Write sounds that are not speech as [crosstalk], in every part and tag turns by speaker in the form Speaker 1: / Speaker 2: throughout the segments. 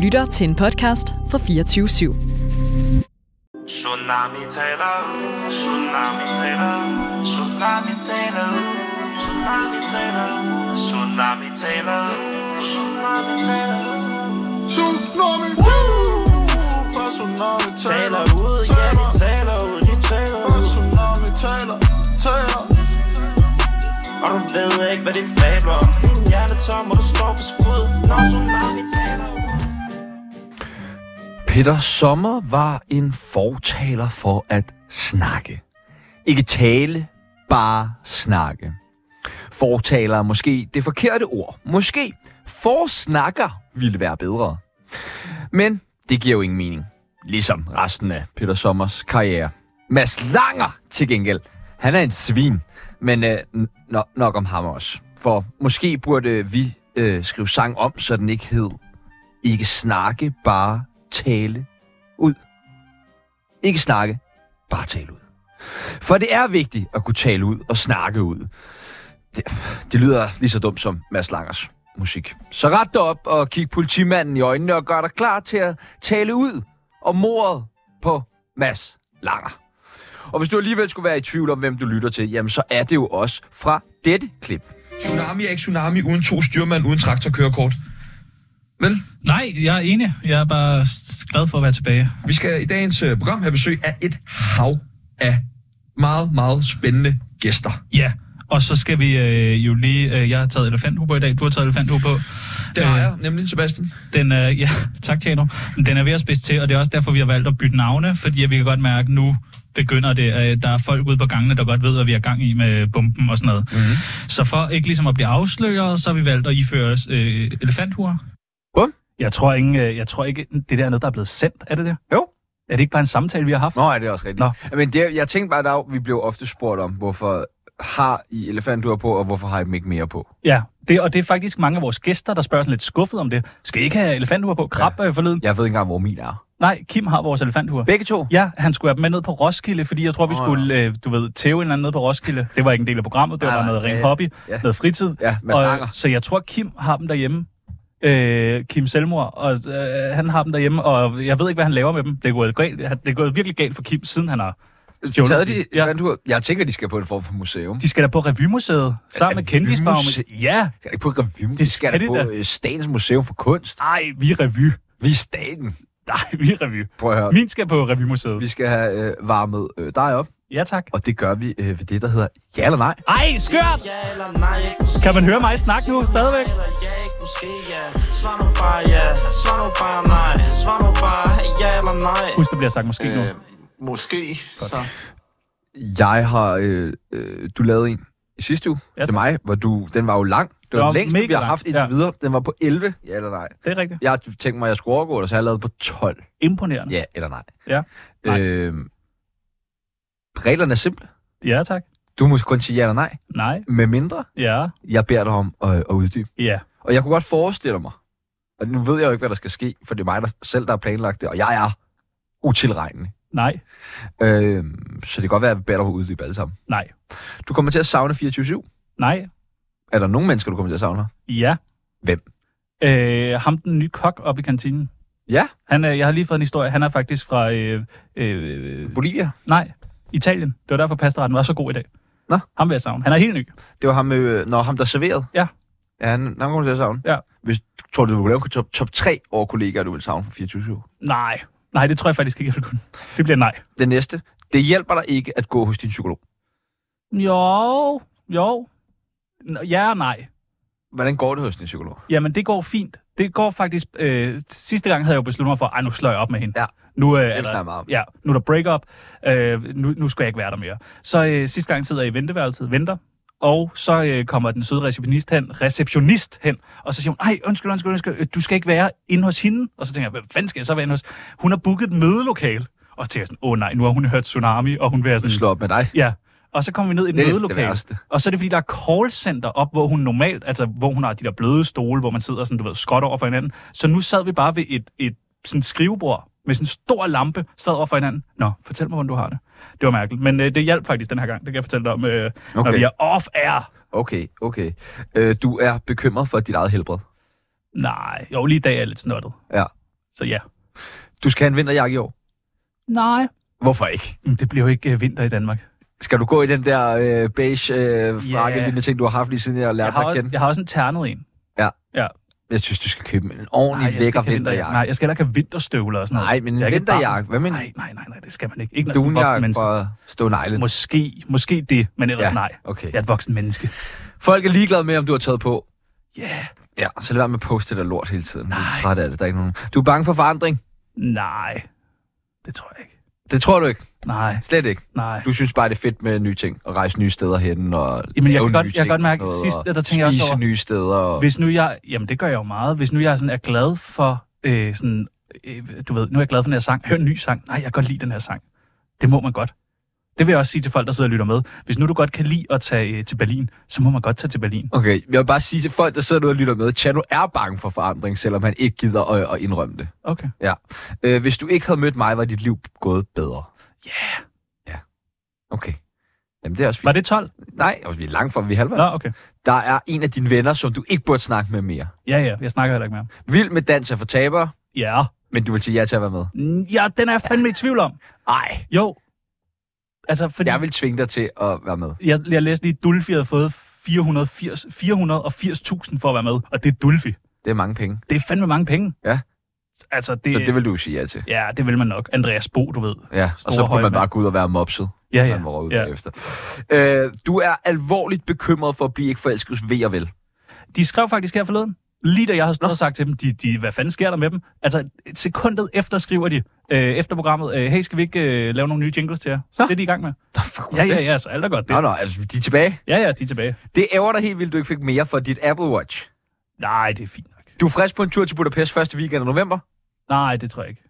Speaker 1: lytter til en podcast fra 24 /7.
Speaker 2: Tsunami taler, tsunami taler, tsunami taler, tsunami taler, tsunami taler, tsunami taler.
Speaker 3: Tsunami Fra tsunami
Speaker 2: Taler ud, ja de taler ud, de taler
Speaker 3: Fra
Speaker 2: ud.
Speaker 3: tsunami taler Taler
Speaker 2: Og du ved ikke, hvad de fabler om. Din hjerne er tom, og du står for skud, når tsunami taler ud.
Speaker 4: Peter Sommer var en fortaler for at snakke. Ikke tale, bare snakke. Fortaler er måske det forkerte ord. Måske forsnakker ville være bedre. Men det giver jo ingen mening. Ligesom resten af Peter Sommers karriere. Mads Langer til gengæld. Han er en svin. Men øh, n- nok- nok om ham også. For måske burde vi øh, skrive sang om, så den ikke hed ikke snakke, bare tale ud. Ikke snakke, bare tale ud. For det er vigtigt at kunne tale ud og snakke ud. Det, det lyder lige så dumt som Mads Langers musik. Så ret dig op og kig politimanden i øjnene og gør dig klar til at tale ud om mordet på Mads Langer. Og hvis du alligevel skulle være i tvivl om, hvem du lytter til, jamen så er det jo også fra dette klip.
Speaker 5: Tsunami er ikke tsunami uden to styrmand, uden traktorkørekort. Vel,
Speaker 6: Nej, jeg er enig. Jeg er bare s- glad for at være tilbage.
Speaker 5: vi skal i dagens øh, program have besøg af et hav af meget, meget spændende gæster.
Speaker 6: Ja, og så skal vi øh, jo lige... Øh, jeg har taget elefanthue på i dag. Du har taget elefanthue på. Øh,
Speaker 5: Det har jeg nemlig, Sebastian.
Speaker 6: Den er, ja, [laughs] tak, Tjano. Den er ved at spidse til, og det er også derfor, vi har valgt at bytte navne, fordi vi kan godt mærke, at nu begynder det. Øh, der er folk ude på gangene, der godt ved, hvad vi har gang i med bomben og sådan noget.
Speaker 5: Mhm.
Speaker 6: Mm-hmm. Så for ikke ligesom at blive afsløret, så har vi valgt at iføre os øh, elefanthuer.
Speaker 7: Jeg tror, ingen, øh, jeg tror ikke, det der er noget, der er blevet sendt. Er det det?
Speaker 4: Jo.
Speaker 7: Er det ikke bare en samtale, vi har haft?
Speaker 4: Nå, er det også rigtigt.
Speaker 7: Nå.
Speaker 4: Nå. Men det, jeg tænkte bare, at vi blev ofte spurgt om, hvorfor har I elefantduer på, og hvorfor har I dem ikke mere på?
Speaker 7: Ja, det, og det er faktisk mange af vores gæster, der spørger sådan lidt skuffet om det. Skal I ikke have elefanthuer på? Krab ja. forleden?
Speaker 4: Jeg ved ikke engang, hvor min er.
Speaker 7: Nej, Kim har vores elefanthuer.
Speaker 4: Begge to?
Speaker 7: Ja, han skulle have dem med ned på Roskilde, fordi jeg tror, vi
Speaker 4: Åh, ja.
Speaker 7: skulle, øh, du ved, tæve en eller anden ned på Roskilde. Det var ikke en del af programmet, det
Speaker 4: Nej,
Speaker 7: var bare
Speaker 4: nej,
Speaker 7: noget ren
Speaker 4: ja,
Speaker 7: hobby,
Speaker 4: ja.
Speaker 7: noget fritid.
Speaker 4: Ja, Mads Langer.
Speaker 7: og, så jeg tror, Kim har dem derhjemme. Øh, Kim Selmor, og øh, han har dem derhjemme, og jeg ved ikke, hvad han laver med dem. Det er gået, galt. det er gået virkelig galt for Kim, siden han har
Speaker 4: Ja.
Speaker 7: stjålet
Speaker 4: Taget
Speaker 7: dem.
Speaker 4: de
Speaker 7: Ja.
Speaker 4: elefantduer? Jeg tænker, de skal på en form for museum. De
Speaker 7: De skal da på Revymuseet sammen med
Speaker 4: Revymuse-
Speaker 7: Kendisbagmen. Ja,
Speaker 4: skal da ikke på et revy, de
Speaker 7: Det
Speaker 4: skal
Speaker 7: skal
Speaker 4: da
Speaker 7: de
Speaker 4: på
Speaker 7: da.
Speaker 4: øh, Statens Museum for Kunst.
Speaker 7: ej, vi er revy.
Speaker 4: Vi er staten.
Speaker 7: Nej, vi er revy.
Speaker 4: Prøv at høre.
Speaker 7: Min skal på Revymuseet.
Speaker 4: Vi skal have øh, varmet øh, dig op,
Speaker 7: Ja, tak.
Speaker 4: og det gør vi øh, ved det, der hedder ja eller nej.
Speaker 7: Ej, skørt!
Speaker 2: Ja eller nej, ikke måske.
Speaker 7: Kan man høre mig snakke nu stadigvæk?
Speaker 2: Eller ja, ikke måske, ja. Svar nu bare ja, svar nu bare nej, svar nu bare ja eller nej.
Speaker 7: Husk, der bliver sagt måske nu.
Speaker 4: Øh.
Speaker 3: Måske
Speaker 2: Så.
Speaker 4: Jeg har... Øh, øh, du lavede en i sidste uge
Speaker 7: Ja,
Speaker 4: til mig, hvor du... Den var jo lang. Det var
Speaker 7: var
Speaker 4: den længste, vi
Speaker 7: mega
Speaker 4: har
Speaker 7: lang,
Speaker 4: haft indtil
Speaker 7: ja.
Speaker 4: videre. Den var på 11, ja eller nej.
Speaker 7: Det er rigtigt.
Speaker 4: Jeg tænkte mig, at jeg skulle overgå det, så jeg lavede på 12.
Speaker 7: Imponerende.
Speaker 4: Ja eller nej.
Speaker 7: Ja. Nej.
Speaker 4: Øhm, reglerne er simple.
Speaker 7: Ja, tak.
Speaker 4: Du må kun sige ja eller nej,
Speaker 7: Nej,
Speaker 4: med mindre
Speaker 7: ja,
Speaker 4: jeg beder dig om at, at uddybe.
Speaker 7: ja.
Speaker 4: Og jeg kunne godt forestille mig, og nu ved jeg jo ikke, hvad der skal ske, for det er mig der, selv, der har planlagt det, og jeg er utilregnelig.
Speaker 7: Nej,
Speaker 4: Øhm, så det kan godt være, at jeg beder dig om at uddybe alle sammen.
Speaker 7: nej,
Speaker 4: Du kommer til at savne 24-7.
Speaker 7: nej,
Speaker 4: Er der nogen mennesker, du kommer til at savne?
Speaker 7: ja.
Speaker 4: Hvem?
Speaker 7: Øh, ham den nye kok op i kantinen.
Speaker 4: Ja,
Speaker 7: Han, øh, jeg har lige fået en historie. Han er faktisk fra... Øh, øh,
Speaker 4: Bolivia.
Speaker 7: nej, Italien. Det var derfor, pastaretten var så god i dag.
Speaker 4: Nå.
Speaker 7: Ham vil jeg savne. Han er helt ny.
Speaker 4: Det var ham, øh, når ham der serverede.
Speaker 7: Ja.
Speaker 4: Ja, han, han kommer til at savne.
Speaker 7: Ja.
Speaker 4: Hvis, tror du, du kunne lave en top, top 3 over kollegaer, du vil savne fra 24
Speaker 7: Nej, nej, det tror jeg faktisk ikke, jeg vil kunne. Det bliver nej.
Speaker 4: Det næste. Det hjælper dig ikke at gå hos din psykolog.
Speaker 7: Jo, jo. Nå, Ja og nej.
Speaker 4: Hvordan går det hos din psykolog?
Speaker 7: Jamen, det går fint. Det går faktisk... Øh, sidste gang havde jeg jo besluttet mig for, at nu slår jeg op med hende.
Speaker 4: Ja.
Speaker 7: Nu, øh,
Speaker 4: Det
Speaker 7: er
Speaker 4: snakker jeg meget
Speaker 7: der,
Speaker 4: om.
Speaker 7: ja, nu er der break-up. Øh, nu, nu skal jeg ikke være der mere. Så øh, sidste gang sidder jeg i venteværelset venter. Og så øh, kommer den søde receptionist hen, receptionist hen, og så siger hun, ej, undskyld, undskyld, undskyld, øh, du skal ikke være inde hos hende. Og så tænker jeg, hvad fanden skal jeg så være inde hos? Hun har booket et mødelokale. Og så tænker jeg sådan, åh nej, nu har hun hørt tsunami, og hun vil have sådan...
Speaker 4: Slå op med dig.
Speaker 7: Ja, og så kommer vi ned i et
Speaker 4: Det er næsten det
Speaker 7: mødelokale.
Speaker 4: værste.
Speaker 7: Og så er det, fordi der er callcenter op, hvor hun normalt, altså hvor hun har de der bløde stole, hvor man sidder sådan, du ved, skot over for hinanden. Så nu sad vi bare ved et, et sådan skrivebord med sådan en stor lampe, sad over for hinanden. Nå, fortæl mig, hvordan du har det. Det var mærkeligt, men øh, det hjalp faktisk den her gang. Det kan jeg fortælle dig om, øh, okay.
Speaker 4: Okay.
Speaker 7: når vi er off-air.
Speaker 4: Okay, okay. Øh, du er bekymret for dit eget helbred.
Speaker 7: Nej, jo, lige i dag er jeg lidt snottet.
Speaker 4: Ja.
Speaker 7: Så ja.
Speaker 4: Du skal have en vinterjakke i år.
Speaker 7: Nej.
Speaker 4: Hvorfor ikke?
Speaker 7: Det bliver jo ikke øh, vinter i Danmark.
Speaker 4: Skal du gå i den der øh, beige øh, frakke, yeah. ting, du har haft lige siden jeg lærte
Speaker 7: Jeg har,
Speaker 4: dig at
Speaker 7: også,
Speaker 4: kende?
Speaker 7: jeg har også en ternet en.
Speaker 4: Jeg synes, du skal købe en ordentlig
Speaker 7: jeg skal ikke
Speaker 4: lækker
Speaker 7: have
Speaker 4: vinterjakke.
Speaker 7: Nej, jeg skal heller ikke have vinterstøvler og sådan noget.
Speaker 4: Nej, men en
Speaker 7: Jeg er ikke et barn.
Speaker 4: vinterjakke. Hvad med en
Speaker 7: Nej, nej, nej, nej, det skal man ikke. Ikke når man er et voksen
Speaker 4: dunjakke
Speaker 7: menneske.
Speaker 4: fra Stone Island?
Speaker 7: Måske, måske det, men ellers ja. nej.
Speaker 4: Okay.
Speaker 7: Jeg er et voksen menneske.
Speaker 4: Folk er ligeglade med, om du har taget på.
Speaker 7: Ja, yeah.
Speaker 4: Ja, så lad være med at poste det lort hele tiden. Nej. Jeg er
Speaker 7: Nej.
Speaker 4: træt af det. Der er ikke nogen. Du er bange for forandring.
Speaker 7: nej. Det tror jeg ikke.
Speaker 4: Det tror du ikke.
Speaker 7: Nej,
Speaker 4: Slet ikke.
Speaker 7: nej.
Speaker 4: Du synes bare, det er fedt med nye ting. Og rejse nye steder hen. Og
Speaker 7: Jamen, jeg
Speaker 4: lave
Speaker 7: kan
Speaker 4: nye
Speaker 7: godt- jeg kan
Speaker 4: ting
Speaker 7: godt
Speaker 4: og
Speaker 7: mærke,
Speaker 4: sådan noget,
Speaker 7: sidst,
Speaker 4: og
Speaker 7: der tænker jeg også
Speaker 4: spise
Speaker 7: over-
Speaker 4: nye steder. Og...
Speaker 7: Hvis nu jeg, jamen det gør jeg jo meget, hvis nu jeg sådan er glad for øh, sådan, øh, du ved, nu er jeg glad for den her sang, hør en ny sang, nej, jeg kan godt lide den her sang. Det må man godt. Det vil jeg også sige til folk, der sidder og lytter med. Hvis nu du godt kan lide at tage øh, til Berlin, så må man godt tage til Berlin.
Speaker 4: Okay, jeg vil bare sige til folk, der sidder derude og lytter med, Chano er bange for forandring, selvom han ikke gider at, at indrømme det.
Speaker 7: Okay.
Speaker 4: Ja. Øh, hvis du ikke havde mødt mig, var dit liv gået bedre.
Speaker 7: Yeah.
Speaker 4: Okay. Jamen, det er også fint.
Speaker 7: Var det 12?
Speaker 4: Nej, altså, vi er langt fra, vi er halvvejs.
Speaker 7: Nå, okay.
Speaker 4: Der er en af dine venner, som du ikke burde snakke med mere.
Speaker 7: Ja, ja, jeg snakker heller ikke mere.
Speaker 4: Vild med dans er for tabere,
Speaker 7: Ja.
Speaker 4: men du vil sige ja til at være med.
Speaker 7: Mm, Ja, den er jeg fandme i tvivl om.
Speaker 4: Nej,
Speaker 7: Jo. Altså, fordi...
Speaker 4: jeg vil tvinge dig til at være med.
Speaker 7: jeg, jeg læste lige, at Dulfi havde fået 480 480.000 for at være med, og det er Dulfi.
Speaker 4: Det er mange penge.
Speaker 7: Det er fandme mange penge.
Speaker 4: Ja.
Speaker 7: Altså, det,
Speaker 4: Så det
Speaker 7: vil...
Speaker 4: vil du sige ja til.
Speaker 7: Ja, det vil man nok. Andreas Bo, du ved.
Speaker 4: Ja, og
Speaker 7: Store
Speaker 4: så kunne man
Speaker 7: højmand.
Speaker 4: bare gå ud og være mopset.
Speaker 7: Ja,
Speaker 4: Ja,
Speaker 7: ja.
Speaker 4: man var ude
Speaker 7: ja.
Speaker 4: bagefter. Øh, du er alvorligt bekymret for at blive ikke forelsket hos V og vel.
Speaker 7: De skrev faktisk her forleden, lige da jeg havde stået
Speaker 4: Nå.
Speaker 7: og sagt til dem, de, de, hvad fanden sker der med dem? Altså, et sekundet efter skriver de, øh, efter programmet, øh, hey, skal vi ikke øh, lave nogle nye jingles til jer? Så
Speaker 4: Nå.
Speaker 7: det er de i gang med.
Speaker 4: Nå, fuck, hvor
Speaker 7: Ja,
Speaker 4: er det?
Speaker 7: ja, ja, så alt er godt. Det.
Speaker 4: Nå, nå, altså, de er tilbage.
Speaker 7: Ja, ja, de er tilbage.
Speaker 4: Det ærger dig helt vildt, du ikke fik mere for dit Apple Watch.
Speaker 7: Nej, det er fint nok.
Speaker 4: Du er frisk på en tur til Budapest første weekend af november.
Speaker 7: Nej, det tror jeg ikke.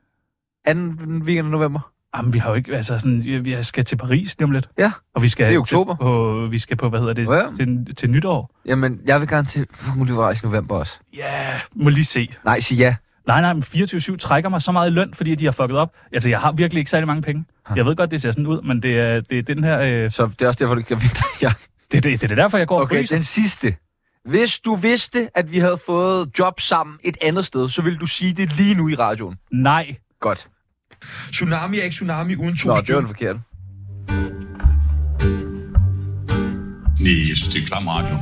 Speaker 4: Anden weekend af november.
Speaker 7: Jamen, vi har jo ikke, altså sådan, jeg, jeg skal til Paris lige om lidt.
Speaker 4: Ja,
Speaker 7: Og vi skal
Speaker 4: Det er oktober.
Speaker 7: Til, på, vi skal på, hvad hedder det,
Speaker 4: Ja.
Speaker 7: til, til nytår.
Speaker 4: jamen, jeg vil gerne til muligvis i november også.
Speaker 7: Ja, yeah, må lige se.
Speaker 4: Nej, sig ja.
Speaker 7: Nej, nej, men 24-7 trækker mig så meget i løn, fordi de har fucket op. Altså, jeg har virkelig ikke særlig mange penge. Jeg ved godt, det ser sådan ud, men det er, det er den her... Øh,
Speaker 4: Så det er også derfor, du kan vinde [laughs] ja.
Speaker 7: det, det, det er derfor, jeg går og
Speaker 4: Okay,
Speaker 7: fryser.
Speaker 4: den sidste. Hvis du vidste, at vi havde fået job sammen et andet sted, så ville du sige det lige nu i radioen.
Speaker 7: Nej.
Speaker 4: Godt.
Speaker 5: Tsunami er ikke tsunami uden to
Speaker 4: Nå, det var
Speaker 5: styr.
Speaker 4: den forkerte.
Speaker 8: Nej, jeg synes, det er klam radio.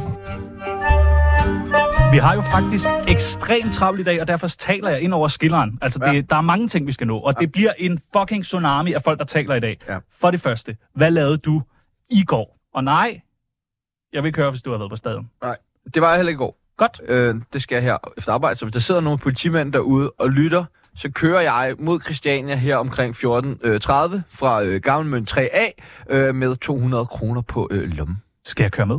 Speaker 7: Vi har jo faktisk ekstremt travlt i dag, og derfor taler jeg ind over skilleren. Altså, det, ja. der er mange ting, vi skal nå, og det bliver en fucking tsunami af folk, der taler i dag.
Speaker 4: Ja.
Speaker 7: For det første, hvad lavede du i går? Og nej, jeg vil ikke høre, hvis du har været på staden.
Speaker 4: Nej, det var jeg heller ikke i går.
Speaker 7: Godt.
Speaker 4: Øh, det skal jeg her efter arbejde. Så hvis der sidder nogle politimænd derude og lytter, så kører jeg mod Christiania her omkring 14.30 øh, 30 fra øh, Gammelmønt 3A øh, med 200 kroner på øh, lommen.
Speaker 7: Skal jeg køre med?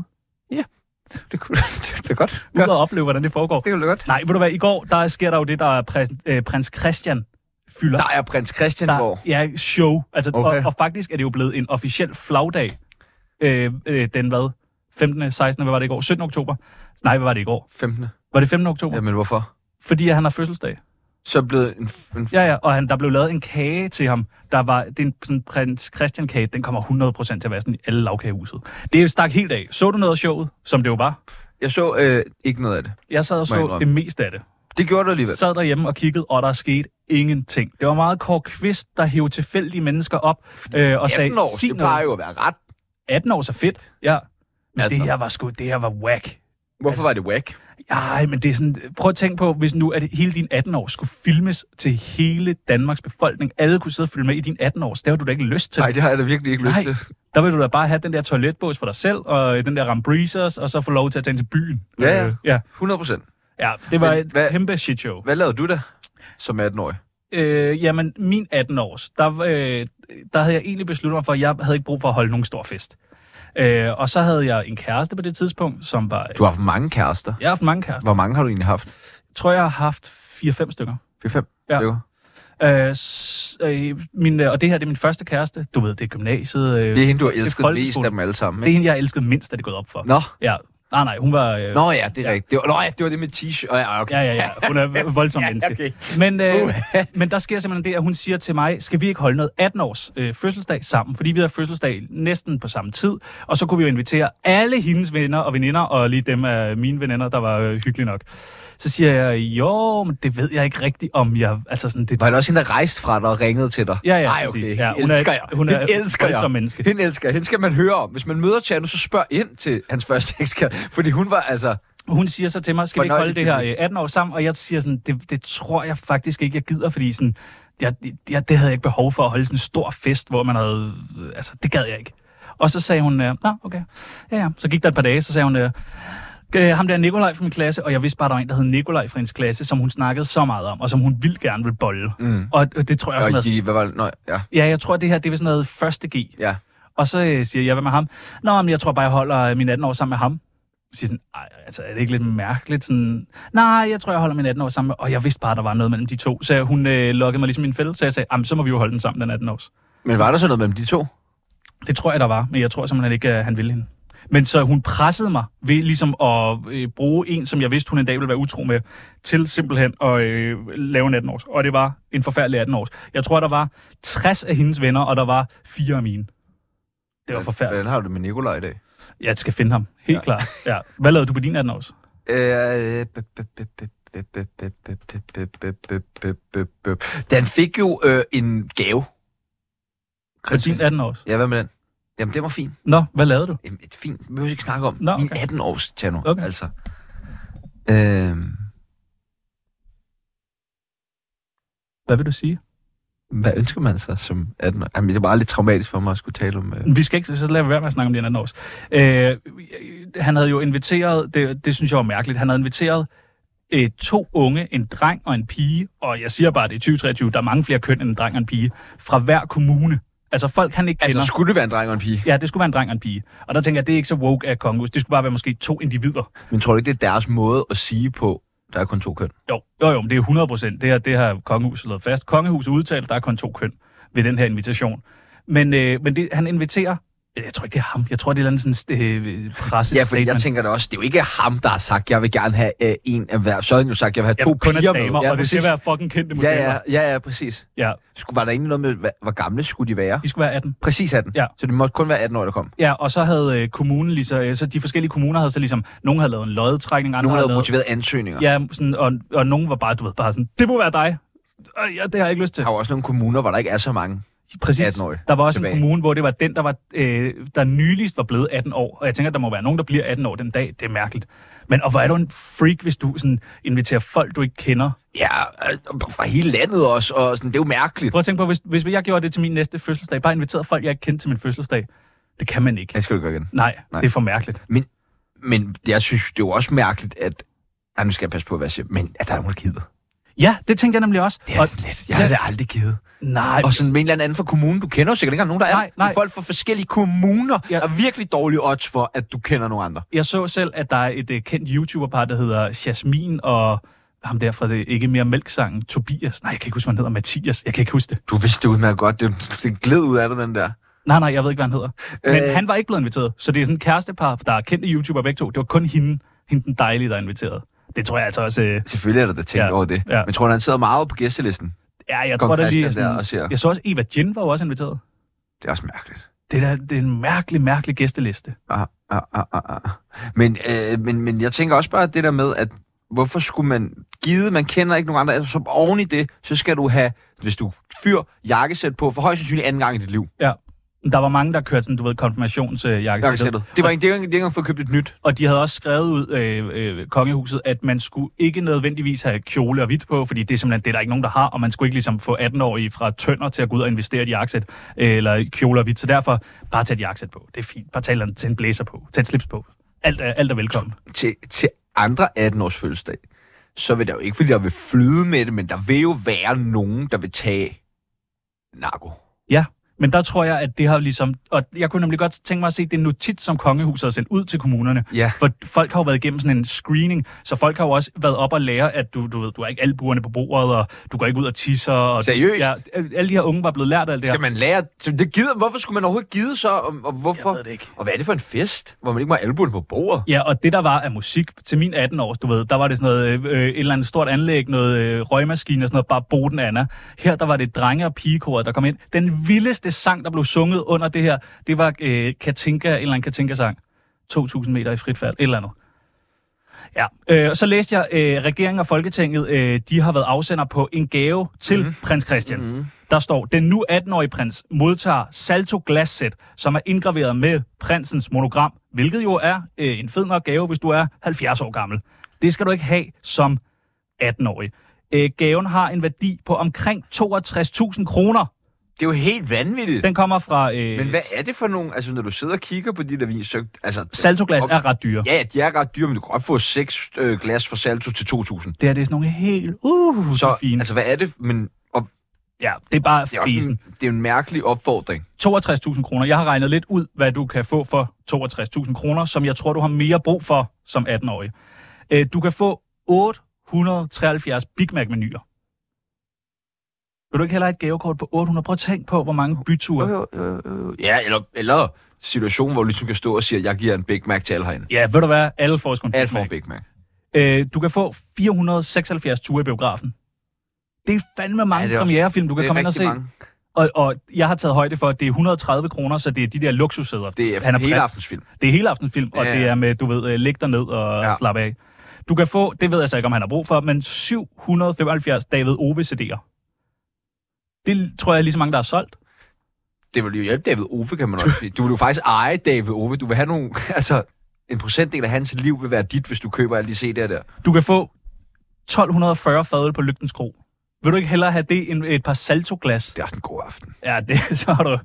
Speaker 4: Det kunne [laughs] det, det er godt.
Speaker 7: Ud
Speaker 4: Ja,
Speaker 7: og opleve, hvordan det foregår.
Speaker 4: det kunne godt.
Speaker 7: Nej, ved du hvad, i går, der sker der jo det, der er prins, øh, prins Christian fylder.
Speaker 4: Der er prins Christian, hvor...
Speaker 7: der er show. Altså, okay.
Speaker 4: Okay.
Speaker 7: og, og faktisk er det jo blevet en officiel flagdag. Øh, øh, den hvad? 15. 16. Hvad var det i går? 17. oktober? Nej, hvad var det i går?
Speaker 4: 15.
Speaker 7: Var det 15. oktober? Jamen.
Speaker 4: Jamen, hvorfor?
Speaker 7: Fordi at han har fødselsdag.
Speaker 4: Så er blevet en... en
Speaker 7: Ja, ja, og han, der blev lavet en kage til ham. Der var, det er en sådan, prins Christian kage, den kommer 100% til at være sådan i alle lavkagehuset. Det er stak helt af. Så du noget af showet, som det jo var?
Speaker 4: Jeg så øh, ikke noget af det.
Speaker 7: Jeg sad og
Speaker 4: jeg
Speaker 7: så
Speaker 4: indrømme.
Speaker 7: det meste af det.
Speaker 4: Det gjorde du alligevel.
Speaker 7: sad derhjemme og kiggede, og der skete ingenting. Det var meget Kåre Kvist, der hævde tilfældige mennesker op øh, og sagde,
Speaker 4: 18 år,
Speaker 7: sig
Speaker 4: det plejer
Speaker 7: noget.
Speaker 4: jo at være ret.
Speaker 7: 18 år, så fedt. Ja. Men
Speaker 4: Altså.
Speaker 7: altså. det her var sgu, det her var whack.
Speaker 4: Hvorfor var det whack?
Speaker 7: Ej, men Altså, det er sådan, prøv at tænke på, hvis nu at hele din 18 år skulle filmes til hele Danmarks befolkning. Alle kunne sidde og følge med i din 18 års. Det har du da ikke lyst til.
Speaker 4: Nej, det har jeg da virkelig ikke lyst
Speaker 7: Nej.
Speaker 4: til.
Speaker 7: Der vil du da bare have den der toiletbås for dig selv, og øh, den der Rambreezers, og så få lov til at tage ind til byen.
Speaker 4: Ja, ja.
Speaker 7: Øh, ja.
Speaker 4: 100 procent.
Speaker 7: ja det var
Speaker 4: Men
Speaker 7: et
Speaker 4: hvad-
Speaker 7: kæmpe shitshow.
Speaker 4: Hvad lavede du da som 18-årig?
Speaker 7: Øh, jamen, min 18-års, der, øh, der havde jeg egentlig besluttet mig for, at jeg havde ikke brug for at holde nogen stor fest. Øh, og så havde jeg en kæreste på det tidspunkt, som var...
Speaker 4: Du har haft mange kærester.
Speaker 7: Jeg har haft mange kærester.
Speaker 4: Hvor mange har du egentlig haft?
Speaker 7: Jeg tror, jeg har haft 4-5 stykker.
Speaker 4: 5
Speaker 7: Ja.
Speaker 4: stykker.
Speaker 7: Øh, s- øh, min, øh, og det her, det er min første kæreste. Du ved, det er gymnasiet. Øh,
Speaker 4: Det er hende, du har
Speaker 7: er
Speaker 4: elsket mest
Speaker 7: folkeskole.
Speaker 4: af dem alle sammen,
Speaker 7: det er
Speaker 4: ikke?
Speaker 7: hende, jeg elskede mindst, er det gået op for.
Speaker 4: Nå,
Speaker 7: Ja. Nej, nej, hun var... Øh,
Speaker 4: Nå ja, det er rigtigt. Det var, nå ja, det var det med t-shirt. Oh, [laughs] ja, okay.
Speaker 7: Ja, ja, ja. Hun er et voldsomt menneske.
Speaker 4: okay. Uh.
Speaker 7: Men, øh, [laughs] men der sker simpelthen det, at hun siger til mig, skal vi ikke holde noget 18-års øh, fødselsdag sammen? Fordi vi havde fødselsdag næsten på samme tid, og så kunne vi jo invitere alle hendes venner og veninder, og lige dem af mine veninder, der var øh, hyggelige nok. Så siger jeg, jo, men det ved jeg ikke rigtigt, om jeg... Altså sådan, det,
Speaker 4: Var det også hende, der rejste fra dig og ringede til dig?
Speaker 7: Ja, ja,
Speaker 4: Ej,
Speaker 7: præcis.
Speaker 4: okay.
Speaker 7: Ja,
Speaker 4: Ja,
Speaker 7: hun
Speaker 4: hun
Speaker 7: er-
Speaker 4: elsker jeg.
Speaker 7: hun
Speaker 4: Hun
Speaker 7: er
Speaker 4: er, hende elsker
Speaker 7: voldsom
Speaker 4: jeg.
Speaker 7: menneske.
Speaker 4: Hende elsker jeg. Hende skal man høre om. Hvis man møder Tjerno, så spørg ind til hans første [laughs] ekskæreste. Fordi hun var altså...
Speaker 7: hun siger så til mig, skal vi ikke holde det
Speaker 4: Fornøjeligt
Speaker 7: her øh, 18 år sammen? Og jeg siger sådan, det, det tror jeg faktisk ikke, jeg gider, fordi sådan, jeg, jeg, det havde jeg ikke behov for at holde sådan en stor fest, hvor man havde, øh, altså det gad jeg ikke. Og så sagde hun, øh, nå okay, ja ja. Så gik der et par dage, så sagde hun, øh, øh, ham der Nikolaj fra min klasse, og jeg vidste bare, der var en, der hed Nikolaj fra hendes klasse, som hun snakkede så meget om, og som hun vildt gerne ville bolle. Mm. Og øh, det tror jeg også,
Speaker 4: Og
Speaker 7: noget,
Speaker 4: de, hvad var det? Nå, ja.
Speaker 7: ja, jeg tror, det her, det er vist noget første G.
Speaker 4: ja.
Speaker 7: Og så øh, siger jeg, hvad med ham? Nå, men jeg tror bare, jeg holder øh, min 18 år sammen med ham. Jeg siger sådan, Ej, altså er det ikke lidt mærkeligt? Sådan, Nej, jeg tror, jeg holder min 18 år sammen med... Og jeg vidste bare, der var noget mellem de to. Så hun øh, lokkede mig ligesom i en fælde, så jeg sagde, jamen så må vi jo holde den sammen, den 18 års.
Speaker 4: Men var der så noget mellem de to?
Speaker 7: Det tror jeg, der var, men jeg tror simpelthen ikke, at han ville hende. Men så hun pressede mig ved ligesom at øh, bruge en, som jeg vidste, hun en dag ville være utro med, til simpelthen at øh, lave en 18-års. Og det var en forfærdelig 18-års. Jeg tror, der var 60 af hendes venner, og der var fire af mine. Det var forfærdeligt.
Speaker 4: Hvordan har du det med Nikolaj i dag?
Speaker 7: Jeg skal finde ham, helt ja. klart. Ja. Hvad lavede du på din 18 års?
Speaker 4: Øh, Den fik jo øh, en gave.
Speaker 7: På din 18 års?
Speaker 4: Ja, hvad med den? Jamen, det var fint.
Speaker 7: Nå, hvad lavede du?
Speaker 4: Jamen, et fint. Vi behøver ikke snakke om.
Speaker 7: Nå,
Speaker 4: Nå, okay.
Speaker 7: okay.
Speaker 4: 18 års channel,
Speaker 7: Okay.
Speaker 4: okay. altså. Øhm,
Speaker 7: Hvad vil du sige?
Speaker 4: hvad ønsker man sig som 18 år? Jamen, det var aldrig traumatisk for mig at skulle tale om... Øh.
Speaker 7: Vi skal ikke, så lad være med at snakke om din 18 års. Øh, han havde jo inviteret, det, det synes jeg var mærkeligt, han havde inviteret øh, to unge, en dreng og en pige, og jeg siger bare, det er 2023, der er mange flere køn end en dreng og en pige, fra hver kommune. Altså folk, han ikke kender.
Speaker 4: Altså, skulle det være en dreng og en pige?
Speaker 7: Ja, det skulle være en dreng og en pige. Og der tænker jeg, det er ikke så woke af kongus. Det skulle bare være måske to individer.
Speaker 4: Men tror du ikke, det er deres måde at sige på, der er kun to køn?
Speaker 7: Jo, jo, jo, men det er 100 procent. Det, her, det har kongehuset lavet fast. Kongehuset udtalt, der er kun to køn ved den her invitation. Men, øh, men det, han inviterer... Jeg tror ikke, det er ham. Jeg tror, det er en sådan øh, presse
Speaker 4: Ja, fordi jeg tænker da også, det er jo ikke ham, der har sagt, jeg vil gerne have øh, en af hver. Så har han jo sagt, jeg vil have to
Speaker 7: kun
Speaker 4: piger
Speaker 7: er damer,
Speaker 4: med.
Speaker 7: ja, og det skal
Speaker 4: præcis.
Speaker 7: være fucking kendte modeller.
Speaker 4: Ja, ja, ja, ja, præcis.
Speaker 7: ja.
Speaker 4: Skulle, var der egentlig noget med, hvad, hvor gamle skulle de være?
Speaker 7: De skulle være 18.
Speaker 4: Præcis 18.
Speaker 7: Ja.
Speaker 4: Så det måtte kun være 18 år, der kom.
Speaker 7: Ja, og så havde øh, kommunen lige så, øh, så de forskellige kommuner havde så ligesom, nogen havde lavet en lodtrækning, andre
Speaker 4: Nogle
Speaker 7: havde
Speaker 4: havde
Speaker 7: lavet,
Speaker 4: motiveret ansøgninger.
Speaker 7: ja, sådan, og, og nogen var bare, du ved, bare sådan, det må være dig. Øh, ja, det har jeg ikke lyst til.
Speaker 4: Der er jo også nogle kommuner, hvor der ikke er så mange.
Speaker 7: Præcis.
Speaker 4: 18-årig
Speaker 7: Der var også tilbage. en
Speaker 4: tilbage.
Speaker 7: kommune, hvor det var den, der, var, øh, der nyligst var blevet 18 år. Og jeg tænker, at der må være nogen, der bliver 18 år den dag. Det er mærkeligt. Men og hvor er du en freak, hvis du sådan, inviterer folk, du ikke kender?
Speaker 4: Ja, øh, fra hele landet også, og sådan, det er jo mærkeligt.
Speaker 7: Prøv at tænke på, hvis, hvis jeg gjorde det til min næste fødselsdag, bare inviterede folk, jeg ikke kendte til min fødselsdag. Det kan man ikke.
Speaker 4: Det skal du gøre igen.
Speaker 7: Nej, Nej.
Speaker 4: Nej.
Speaker 7: det er for mærkeligt.
Speaker 4: Men det, jeg synes, det er jo også mærkeligt, at... Ej, nu skal jeg passe på, hvad jeg siger, men at der er nogen, der gider.
Speaker 7: Ja, det tænkte jeg nemlig også.
Speaker 4: Det er sådan lidt. Jeg har det aldrig givet.
Speaker 7: Nej,
Speaker 4: Og sådan med en eller anden anden fra kommunen, du kender jo sikkert ikke engang nogen, der
Speaker 7: Nej,
Speaker 4: er.
Speaker 7: nej.
Speaker 4: Folk fra forskellige kommuner
Speaker 7: Ja.
Speaker 4: ja. er virkelig dårlige odds for, at du kender nogen andre.
Speaker 7: jeg så selv, at der er et øh, kendt YouTuber-par, der hedder Jasmin og ham der fra det ikke mere mælksangen, Tobias. Nej, jeg kan ikke huske, hvad han hedder. Mathias. Jeg kan ikke huske det.
Speaker 4: Du vidste det udmærket godt. Det, det gled ud af dig, den der.
Speaker 7: Nej, nej, jeg ved ikke, hvad han hedder. Men øh...
Speaker 4: Øh.
Speaker 7: han var ikke blevet inviteret. Så det er sådan et kærestepar, der er kendte YouTuber begge to. Det var kun hende, hende den dejlige, der er inviteret. Det tror jeg altså også... Øh...
Speaker 4: Selvfølgelig er der da tænkt
Speaker 7: Ja,
Speaker 4: ja. over det.
Speaker 7: ja.
Speaker 4: Men tror du, han sidder meget på gæstelisten?
Speaker 7: Ja, jeg
Speaker 4: Kong
Speaker 7: tror, der lige... er
Speaker 4: Christian der
Speaker 7: Sådan...
Speaker 4: og ser.
Speaker 7: Jeg så også, Eva Jin var jo også inviteret.
Speaker 4: Det er også mærkeligt.
Speaker 7: Det er, da, det er en mærkelig, mærkelig gæsteliste.
Speaker 4: Ah, ah, ah, ah, ah. Men, øh, men, men jeg tænker også bare det der med, at hvorfor skulle man give, man kender ikke nogen andre, altså som oven i det, så skal du have, hvis du fyr, jakkesæt på, for højst sandsynligt anden gang i dit liv.
Speaker 7: Ja. Der var mange, der kørte sådan, du ved, øh, konfirmationsjakkesættet.
Speaker 4: Jakkesættet. Det var ikke, det var ikke, det var ikke engang fået købt et nyt.
Speaker 7: Og de havde også skrevet ud øh, øh, kongehuset, at man skulle ikke nødvendigvis have kjole og hvidt på, fordi det er simpelthen det, er der ikke nogen, der har, og man skulle ikke ligesom få 18-årige fra tønder til at gå ud og investere i et jakkesæt, øh, eller kjole og hvidt. Så derfor, bare tag et jakkesæt på. Det er fint. Bare tag, et eller andet- tag en blæser på. Tag et slips på. Alt er, alt er velkommen.
Speaker 4: Til, til andre 18-års fødselsdag, så vil der jo ikke, fordi der vil flyde med det, men der vil jo være nogen, der vil tage narko.
Speaker 7: Ja, men der tror jeg, at det har ligesom... Og jeg kunne nemlig godt tænke mig at se det notit, som kongehuset har sendt ud til kommunerne.
Speaker 4: Ja.
Speaker 7: For folk har jo været igennem sådan en screening, så folk har jo også været op og lære, at du, du ved, du har ikke albuerne på bordet, og du går ikke ud og tisser. Og
Speaker 4: Seriøst?
Speaker 7: Du, ja, alle de her unge var blevet lært af alt det her.
Speaker 4: Skal man lære... så Det gider, hvorfor skulle man overhovedet gide så, og, og hvorfor?
Speaker 7: Jeg ved det ikke.
Speaker 4: Og hvad er det for en fest, hvor man ikke må have albuerne på bordet?
Speaker 7: Ja, og det der var af musik til min 18 år, du ved, der var det sådan noget, øh, øh, et eller andet stort anlæg, noget øh, røgmaskine og sådan noget, bare boden Anna. Her der var det drenge- og pigekoret, der kom ind. Den vildeste sang, der blev sunget under det her, det var øh, Katinka, en eller anden Katinka-sang. 2000 meter i frit fald, et eller andet. Ja, øh, og så læste jeg, øh, regeringen og Folketinget, øh, de har været afsender på en gave til
Speaker 4: Mhm.
Speaker 7: mm. prins Christian. Mm. Der står, den nu 18-årige prins modtager Salto glassæt, som er indgraveret med prinsens monogram, hvilket jo er øh, en fed nok gave, hvis du er 70 år gammel. Det skal du ikke have som 18-årig. Øh, gaven har en værdi på omkring 62.000 kroner.
Speaker 4: Det er jo helt vanvittigt.
Speaker 7: Den kommer fra... Øh,
Speaker 4: Men hvad er det for nogen? Altså, når du sidder og kigger på de der vin, så... Altså,
Speaker 7: Saltoglas
Speaker 4: Og-
Speaker 7: er ret dyre.
Speaker 4: Ja, de er ret dyre, men du kan godt få seks øh, glas for salto til 2.000.
Speaker 7: Det her, det er sådan nogle helt... Uh, så,
Speaker 4: Så,
Speaker 7: fine.
Speaker 4: altså,
Speaker 7: Altså,
Speaker 4: hvad er det? Men, og,
Speaker 7: ja, det er bare
Speaker 4: det, er også
Speaker 7: fisen.
Speaker 4: en, det er jo en mærkelig opfordring.
Speaker 7: 62.000 kroner. Jeg har regnet lidt ud, hvad du kan få for 62.000 kroner, som jeg tror, du har mere brug for som 18-årig. Øh, Du kan få 873 Big Mac-menuer. Vil du ikke heller have et gavekort på 800? Prøv at tænk på, hvor mange byture.
Speaker 4: Ja, eller, eller situationen, hvor du ligesom kan stå og sige, at jeg giver en Big Mac til alle herinde.
Speaker 7: Ja, ved du hvad? Alle får sgu en Big
Speaker 4: Alt for en
Speaker 7: Mac.
Speaker 4: Big Mac.
Speaker 7: Øh, Du kan få 476 ture i biografen. Det er fandme mange
Speaker 4: Ja, det
Speaker 7: ja,
Speaker 4: er også-
Speaker 7: premierefilm, du kan
Speaker 4: det er
Speaker 7: komme ind og
Speaker 4: rigtig
Speaker 7: se.
Speaker 4: mange.
Speaker 7: Og, og jeg har taget højde for, at det er 130 kroner, så det er de der luksussæder.
Speaker 4: Det er, er hele
Speaker 7: prins.
Speaker 4: aftensfilm.
Speaker 7: Det er hele aftensfilm, og
Speaker 4: Ja, ja.
Speaker 7: det er med, du ved, øh, læg dig ned og ja.
Speaker 4: Ja.
Speaker 7: slap af. Du kan få, det ved jeg så ikke, om han har brug for, men 775 David Ove CD'er. Det tror jeg er lige så mange, der er solgt.
Speaker 4: Det vil jo hjælpe David Ove, kan man også sige. Du vil jo faktisk eje David Ove. Du vil have nogle... [laughs] Altså, en procentdel af hans liv vil være dit, hvis du køber alle de CD'er der.
Speaker 7: Du kan få 1240 fadøl på Lygtens Kro. Vil du ikke hellere have det end et par saltoglas?
Speaker 4: Det er også en god aften.
Speaker 7: Ja, det, [laughs] så har du...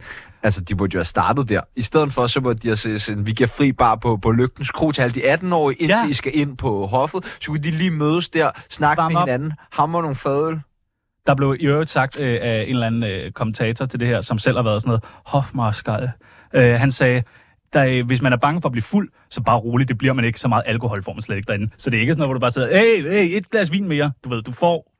Speaker 4: Altså, de burde jo have startet der. I stedet for, så burde de have sagt, sådan, vi giver fri bar på, på Lygtens Kro til alle de 18-årige, indtil
Speaker 7: Ja.
Speaker 4: ja. I skal ind på hoffet. Så kunne de lige mødes der, snakke
Speaker 7: Varme
Speaker 4: med
Speaker 7: op.
Speaker 4: hinanden, hammer nogle fadøl.
Speaker 7: Der blev i øvrigt sagt øh, af en eller anden øh, kommentator til det her, som selv har været sådan noget hofmarskal. Øh, han sagde, der, øh, hvis man er bange for at blive fuld, så bare roligt, det bliver man ikke så meget alkohol, får man slet ikke derinde. Så det er ikke sådan noget, hvor du bare sidder, hey, hey, et glas vin mere. Du ved, du får,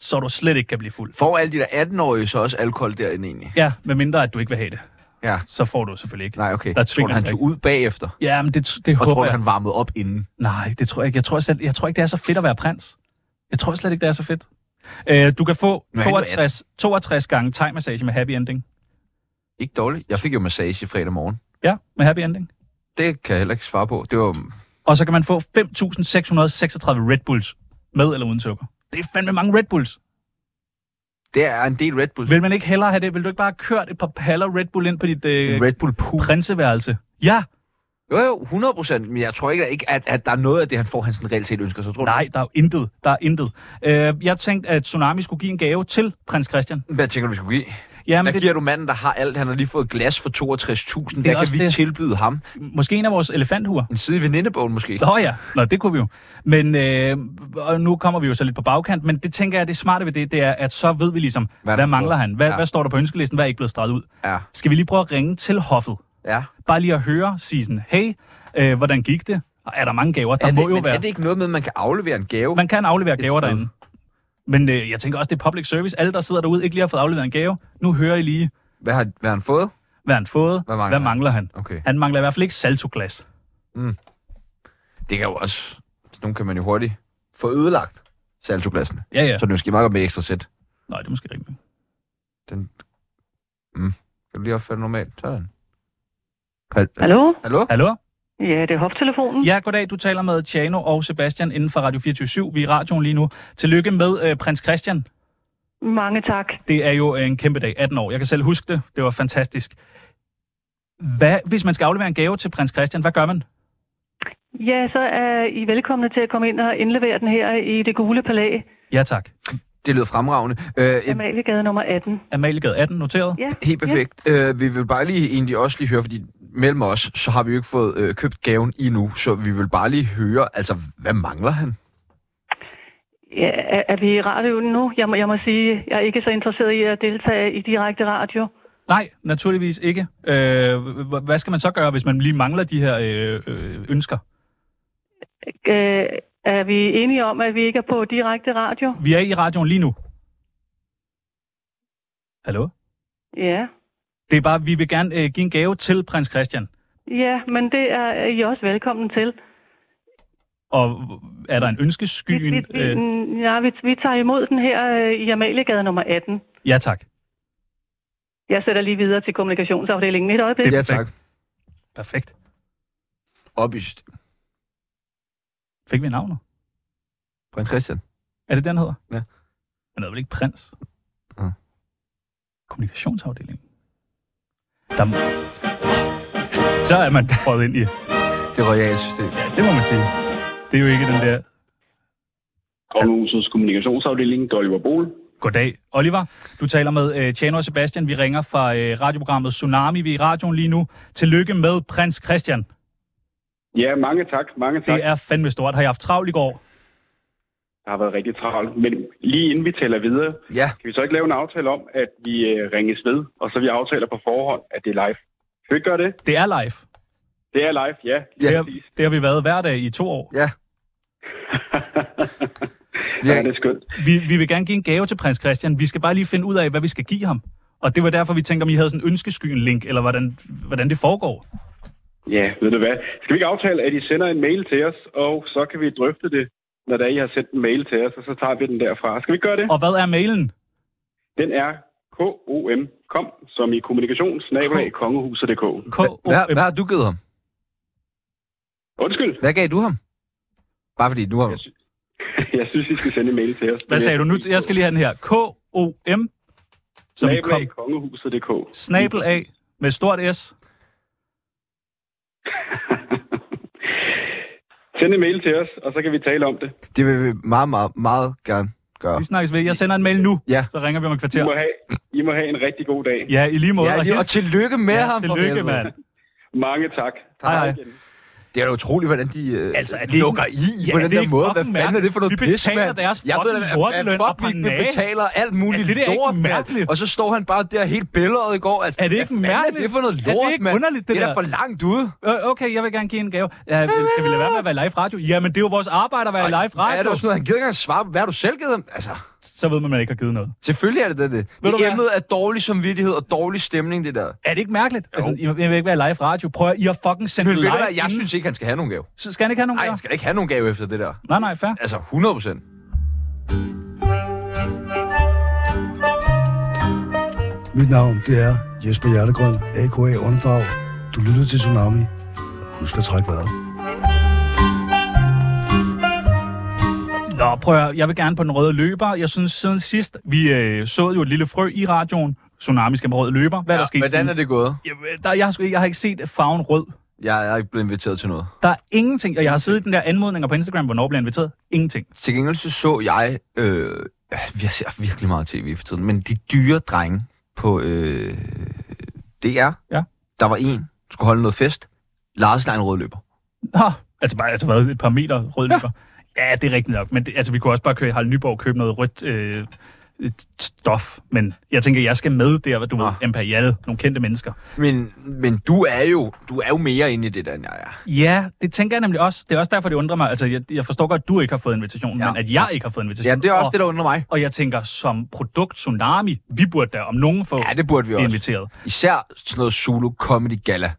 Speaker 7: så du slet ikke kan blive fuld.
Speaker 4: Får alle de der 18-årige så også alkohol derinde egentlig?
Speaker 7: Ja, medmindre at du ikke vil have det.
Speaker 4: Ja.
Speaker 7: Så får du selvfølgelig ikke.
Speaker 4: Nej, okay.
Speaker 7: Der
Speaker 4: Der tror
Speaker 7: tvinger
Speaker 4: du, han
Speaker 7: han
Speaker 4: tog ud bagefter?
Speaker 7: Ja, men det, det
Speaker 4: Og
Speaker 7: håber
Speaker 4: tror du,
Speaker 7: jeg.
Speaker 4: han varmede op inden?
Speaker 7: Nej, det tror jeg ikke. Jeg tror, selv, jeg tror ikke, det er så fedt at være prins. Jeg tror slet ikke, det er så fedt. Øh, du kan få
Speaker 4: Men han er jo
Speaker 7: 62, 62 gange thai-massage med happy ending.
Speaker 4: Ikke dårligt. Jeg fik jo massage fredag morgen.
Speaker 7: Ja, med happy ending.
Speaker 4: Det kan jeg heller ikke svare på. Det var...
Speaker 7: Og så kan man få 5.636 Red Bulls med eller uden sukker. Det er fandme mange Red Bulls.
Speaker 4: Det er en del Red Bull.
Speaker 7: Vil man ikke hellere have det? Vil du ikke bare have kørt et par paller Red Bull ind på dit øh,
Speaker 4: En Red Bull pool.
Speaker 7: prinseværelse? Ja,
Speaker 4: Jo, jo, 100 procent. Men jeg tror ikke, at- ikke at, at, der er noget af det, han får, han sådan reelt set ønsker. Så tror
Speaker 7: nej, der er jo intet. Der er intet. Øh, jeg tænkte, at Tsunami skulle give en gave til prins Christian.
Speaker 4: Du, hvad tænker du, vi skulle give?
Speaker 7: Ja,
Speaker 4: Hvad
Speaker 7: men det,
Speaker 4: giver du manden, der har alt? Han har lige fået glas for 62.000.
Speaker 7: Det er
Speaker 4: Hvad
Speaker 7: også
Speaker 4: kan vi
Speaker 7: det.
Speaker 4: det. tilbyde ham?
Speaker 7: måske en af vores elefanthuer.
Speaker 4: En side i venindebogen måske?
Speaker 7: Nå ja, Nå, det kunne vi jo. Men øh, og nu kommer vi jo så lidt på bagkant, men det tænker jeg, det smarte ved det, det er, at så ved vi ligesom, hvad,
Speaker 4: Hvad er der
Speaker 7: hvad
Speaker 4: på?
Speaker 7: mangler han? Hvad, ja.
Speaker 4: Ja.
Speaker 7: hvad står der på ønskelisten? Hvad er ikke blevet streget ud?
Speaker 4: Ja,
Speaker 7: Skal vi lige prøve at ringe til hoffet?
Speaker 4: ja.
Speaker 7: bare lige at høre, sige sådan, hey, øh, hvordan gik det? Og Er der mange gaver? Der
Speaker 4: er det,
Speaker 7: må jo
Speaker 4: men
Speaker 7: være.
Speaker 4: er det ikke noget med, at man kan aflevere en gave?
Speaker 7: Man kan aflevere gaver
Speaker 4: sted.
Speaker 7: derinde. Men øh, jeg tænker også, det er public service. Alle, der sidder derude, ikke lige har fået afleveret en gave. Nu hører I lige,
Speaker 4: Hvad har, hvad har han fået?
Speaker 7: hvad han fået.
Speaker 4: Hvad mangler
Speaker 7: hvad
Speaker 4: han?
Speaker 7: mangler han?
Speaker 4: Okay.
Speaker 7: Han mangler i hvert fald ikke saltoglas.
Speaker 4: Det kan jo også... Nogle kan man jo hurtigt få ødelagt saltoglassene.
Speaker 7: Ja, ja.
Speaker 4: Så det er måske meget godt med et ekstra sæt.
Speaker 7: Nej, det er måske rigtigt.
Speaker 4: Den... Mm. Kan du lige opføre det normalt? Sådan. Hal-
Speaker 9: Hallo?
Speaker 4: Hallo?
Speaker 7: Hallo?
Speaker 9: Ja, det er hoftelefonen.
Speaker 7: Ja, goddag. Du taler med Tjano og Sebastian inden for Radio 24 Vi er i radioen lige nu. Tillykke med øh, prins Christian.
Speaker 9: Mange tak.
Speaker 7: Det er jo øh, en kæmpe dag. 18 år. Jeg kan selv huske det. Det var fantastisk. Hvad, hvis man skal aflevere en gave til prins Christian, hvad gør man?
Speaker 9: Ja, så er I velkomne til at komme ind og indlevere den her i det gule palæ,
Speaker 7: Ja, tak.
Speaker 4: Det lyder fremragende. Øh, et,
Speaker 9: Amaliegade nummer 18.
Speaker 7: Amaliegade 18 noteret.
Speaker 9: Ja,
Speaker 4: helt perfekt. Øh, vi vil bare lige egentlig også lige høre, fordi mellem os, så har vi jo ikke fået øh, købt gaven endnu, så vi vil bare lige høre, altså, hvad mangler han?
Speaker 9: ja er, er vi i radioen nu? Jeg må, jeg må sige, jeg er ikke så interesseret i at deltage i direkte radio.
Speaker 7: Nej, naturligvis ikke. Øh, h- h- hvad skal man så gøre, hvis man lige mangler de her øh, øh, ønsker?
Speaker 9: Øh, er vi enige om, at vi ikke er på direkte radio?
Speaker 7: Vi er i radioen lige nu. Hallo?
Speaker 9: Ja.
Speaker 7: Det er bare, vi vil gerne øh, give en gave til prins Christian.
Speaker 9: Ja, men det er I også velkommen til.
Speaker 7: Og er der en Øh,
Speaker 9: Vi, vi,
Speaker 7: ønskeskyen?
Speaker 9: vi, ja, vi, vi tager imod den her øh, i Amaliegade nummer 18.
Speaker 7: ja, tak.
Speaker 9: Jeg sætter lige videre til kommunikationsafdelingen et øjeblik.
Speaker 7: Det-
Speaker 4: Ja, tak.
Speaker 7: perfekt. Perfekt.
Speaker 4: Op i systemet.
Speaker 7: Fik vi navnet?
Speaker 4: Prins Christian.
Speaker 7: Er det den hedder?
Speaker 4: Ja.
Speaker 7: Han hedder vel ikke prins?
Speaker 4: Ja.
Speaker 7: Kommunikationsafdelingen. Der... Oh, så er man prøvet ind i.
Speaker 4: Det royale system.
Speaker 7: Ja, det må man sige. Det er jo ikke den der...
Speaker 10: Kongehusets kommunikationsafdeling, Oliver Bol.
Speaker 7: Goddag, Oliver. Du taler med øh, Tjano og Sebastian. Vi ringer fra øh, radioprogrammet Tsunami. Vi er i radioen lige nu. Tillykke med prins Christian.
Speaker 10: Ja, mange tak, mange tak.
Speaker 7: Det er fandme stort. Har jeg haft travlt i går?
Speaker 10: Der har været rigtig travlt. Men lige inden vi taler videre,
Speaker 4: Ja.
Speaker 10: kan vi så ikke lave en aftale om, at vi øh, ringes ved, og så vi aftaler på forhånd, at det er live. Kan vi ikke gøre det?
Speaker 7: Det er live.
Speaker 10: Det er live,
Speaker 7: [laughs]
Speaker 10: ja. Lige
Speaker 7: Det,
Speaker 10: ja.
Speaker 7: har, det har vi været hver dag i to år.
Speaker 4: Ja.
Speaker 10: ja. det er skønt.
Speaker 7: Vi, vi vil gerne give en gave til prins Christian. Vi skal bare lige finde ud af, hvad vi skal give ham. Og det var derfor, vi tænkte, om I havde sådan en ønskeskyen-link, eller hvordan, hvordan det foregår.
Speaker 10: Ja, ved du hvad? Skal vi ikke aftale, at I sender en mail til os, og så kan vi drøfte det, når der I har sendt en mail til os, og så tager vi den derfra. Skal vi ikke gøre det?
Speaker 7: Og hvad er mailen?
Speaker 10: Den er KOM, kom, som i kommunikationsnabelag
Speaker 7: K
Speaker 10: kongehuset.dk.
Speaker 4: Hvad,
Speaker 9: øhm.
Speaker 4: hvad har du givet ham?
Speaker 10: Undskyld, [laughs]
Speaker 4: Hvad gav du ham? Bare fordi du har...
Speaker 10: Jeg sy- jeg synes, I skal sende en mail til os.
Speaker 7: hvad sagde du nu? Jeg skal lige have den her. K-O-M. Så vi kom.
Speaker 10: Nabelag kongehuset.dk.
Speaker 7: Snabel af med stort S.
Speaker 10: Send en mail til os, og så kan vi tale om det.
Speaker 4: Det vil vi meget, meget, meget gerne gøre.
Speaker 7: Vi snakkes ved. Jeg sender en mail nu.
Speaker 4: Ja.
Speaker 7: Så ringer vi om et
Speaker 10: I
Speaker 7: kvarter.
Speaker 10: må have, I må have en rigtig god dag.
Speaker 7: Ja, i lige måde.
Speaker 4: Ja, lige, og
Speaker 7: hils-
Speaker 4: tillykke med
Speaker 7: ja,
Speaker 4: ham. for
Speaker 7: Tillykke,
Speaker 4: helvede.
Speaker 7: mand.
Speaker 10: Mange tak.
Speaker 7: Hej, hej.
Speaker 10: Igen.
Speaker 4: Det er da utroligt, hvordan de øh,
Speaker 7: Altså,
Speaker 4: altså,
Speaker 7: er det ikke-
Speaker 4: lukker i
Speaker 7: Ja,
Speaker 4: på
Speaker 7: er
Speaker 4: den
Speaker 7: det
Speaker 4: der
Speaker 7: ikke
Speaker 4: måde. Hvad
Speaker 7: fucking
Speaker 4: fanden er det for noget
Speaker 7: mærkeligt? Vi
Speaker 4: pis,
Speaker 7: betaler
Speaker 4: mand?
Speaker 7: deres
Speaker 4: jeg ved, da, hvad-
Speaker 7: fucking lorteløn
Speaker 4: hvad
Speaker 7: og
Speaker 4: fuck, vi
Speaker 7: parnage.
Speaker 4: betaler alt muligt
Speaker 7: Er det der ikke
Speaker 4: lort, mand.
Speaker 7: mærkeligt?
Speaker 4: Og så står han bare der helt billedet i går. Altså,
Speaker 7: Er det ikke
Speaker 4: hvad fanden er
Speaker 7: mærkeligt?
Speaker 4: det for noget
Speaker 7: Er det
Speaker 4: lort,
Speaker 7: ikke
Speaker 4: mand?
Speaker 7: underligt, det
Speaker 4: det er da
Speaker 7: der?
Speaker 4: for langt ude.
Speaker 7: Øh, Okay, jeg vil gerne give en gave. Ja, øh, skal vi lade være med at være live radio? Jamen, det er jo vores arbejde at være live
Speaker 4: Ja, Er det
Speaker 7: radio.
Speaker 4: også noget, han gider ikke engang svare på? Hvad har du selv givet ham? Altså,
Speaker 7: Så ved man, at man ikke har givet noget.
Speaker 4: selvfølgelig er det det. det.
Speaker 7: du
Speaker 4: det
Speaker 7: hvad?
Speaker 4: emnet er dårlig samvittighed og dårlig stemning, det der.
Speaker 7: Er det ikke mærkeligt? Altså, jeg vil ikke være live radio. Prøv at I har fucking sendt
Speaker 4: Men
Speaker 7: live.
Speaker 4: ved du hvad, jeg
Speaker 7: inden.
Speaker 4: synes ikke, han skal have nogen gave.
Speaker 7: Så skal han ikke have nogen
Speaker 4: Nej,
Speaker 7: gaver?
Speaker 4: han skal da ikke have nogen gave efter det der.
Speaker 7: Nej, nej, fair.
Speaker 4: Altså, 100 procent.
Speaker 3: Mit navn, det er Jesper Hjertegrøn, AKA Åndedrag. Du lytter til Tsunami. Husk at trække vejret.
Speaker 7: Nå, prøv at, høre. jeg vil gerne på den røde løber. Jeg synes, siden sidst, vi øh, så jo et lille frø i radioen. Tsunami skal på røde løber. Hvad er der sket?
Speaker 4: Hvordan er det gået?
Speaker 7: Jeg, der, jeg, har sgu, ikke- jeg har ikke set farven rød.
Speaker 4: Jeg er ikke blevet inviteret til noget.
Speaker 7: Der er ingenting. Og jeg har siddet i den der anmodninger på Instagram, hvornår bliver jeg inviteret. Ingenting.
Speaker 4: Til gengæld så, så jeg, øh, jeg ser virkelig meget tv for tiden, men de dyre drenge på øh, DR,
Speaker 7: Ja.
Speaker 4: der var en, skulle holde noget fest, Lars Lein Rødløber.
Speaker 7: Nå, altså bare altså, hvad, et par meter rød løber. Ja. ja, det er rigtigt nok. Men det, altså, vi kunne også bare køre i Harald Nyborg og købe noget rødt øh, øh, stof. Men jeg tænker, jeg skal med der, hvor du ved, Imperial, nogle kendte mennesker.
Speaker 4: Men, men du er jo du er jo mere inde i det der, end jeg er.
Speaker 7: Ja, det tænker jeg nemlig også. Det er også derfor, det undrer mig. Altså, jeg, jeg forstår godt, at du ikke har fået invitation,
Speaker 4: Ja.
Speaker 7: ja. men at jeg ikke har fået invitation.
Speaker 4: Ja, det er også
Speaker 7: og,
Speaker 4: det, der undrer mig.
Speaker 7: Og jeg tænker, som produkt Tsunami, vi burde da om nogen få
Speaker 4: Ja, det burde vi
Speaker 7: blive
Speaker 4: også.
Speaker 7: inviteret.
Speaker 4: Især sådan noget Zulu Comedy Gala.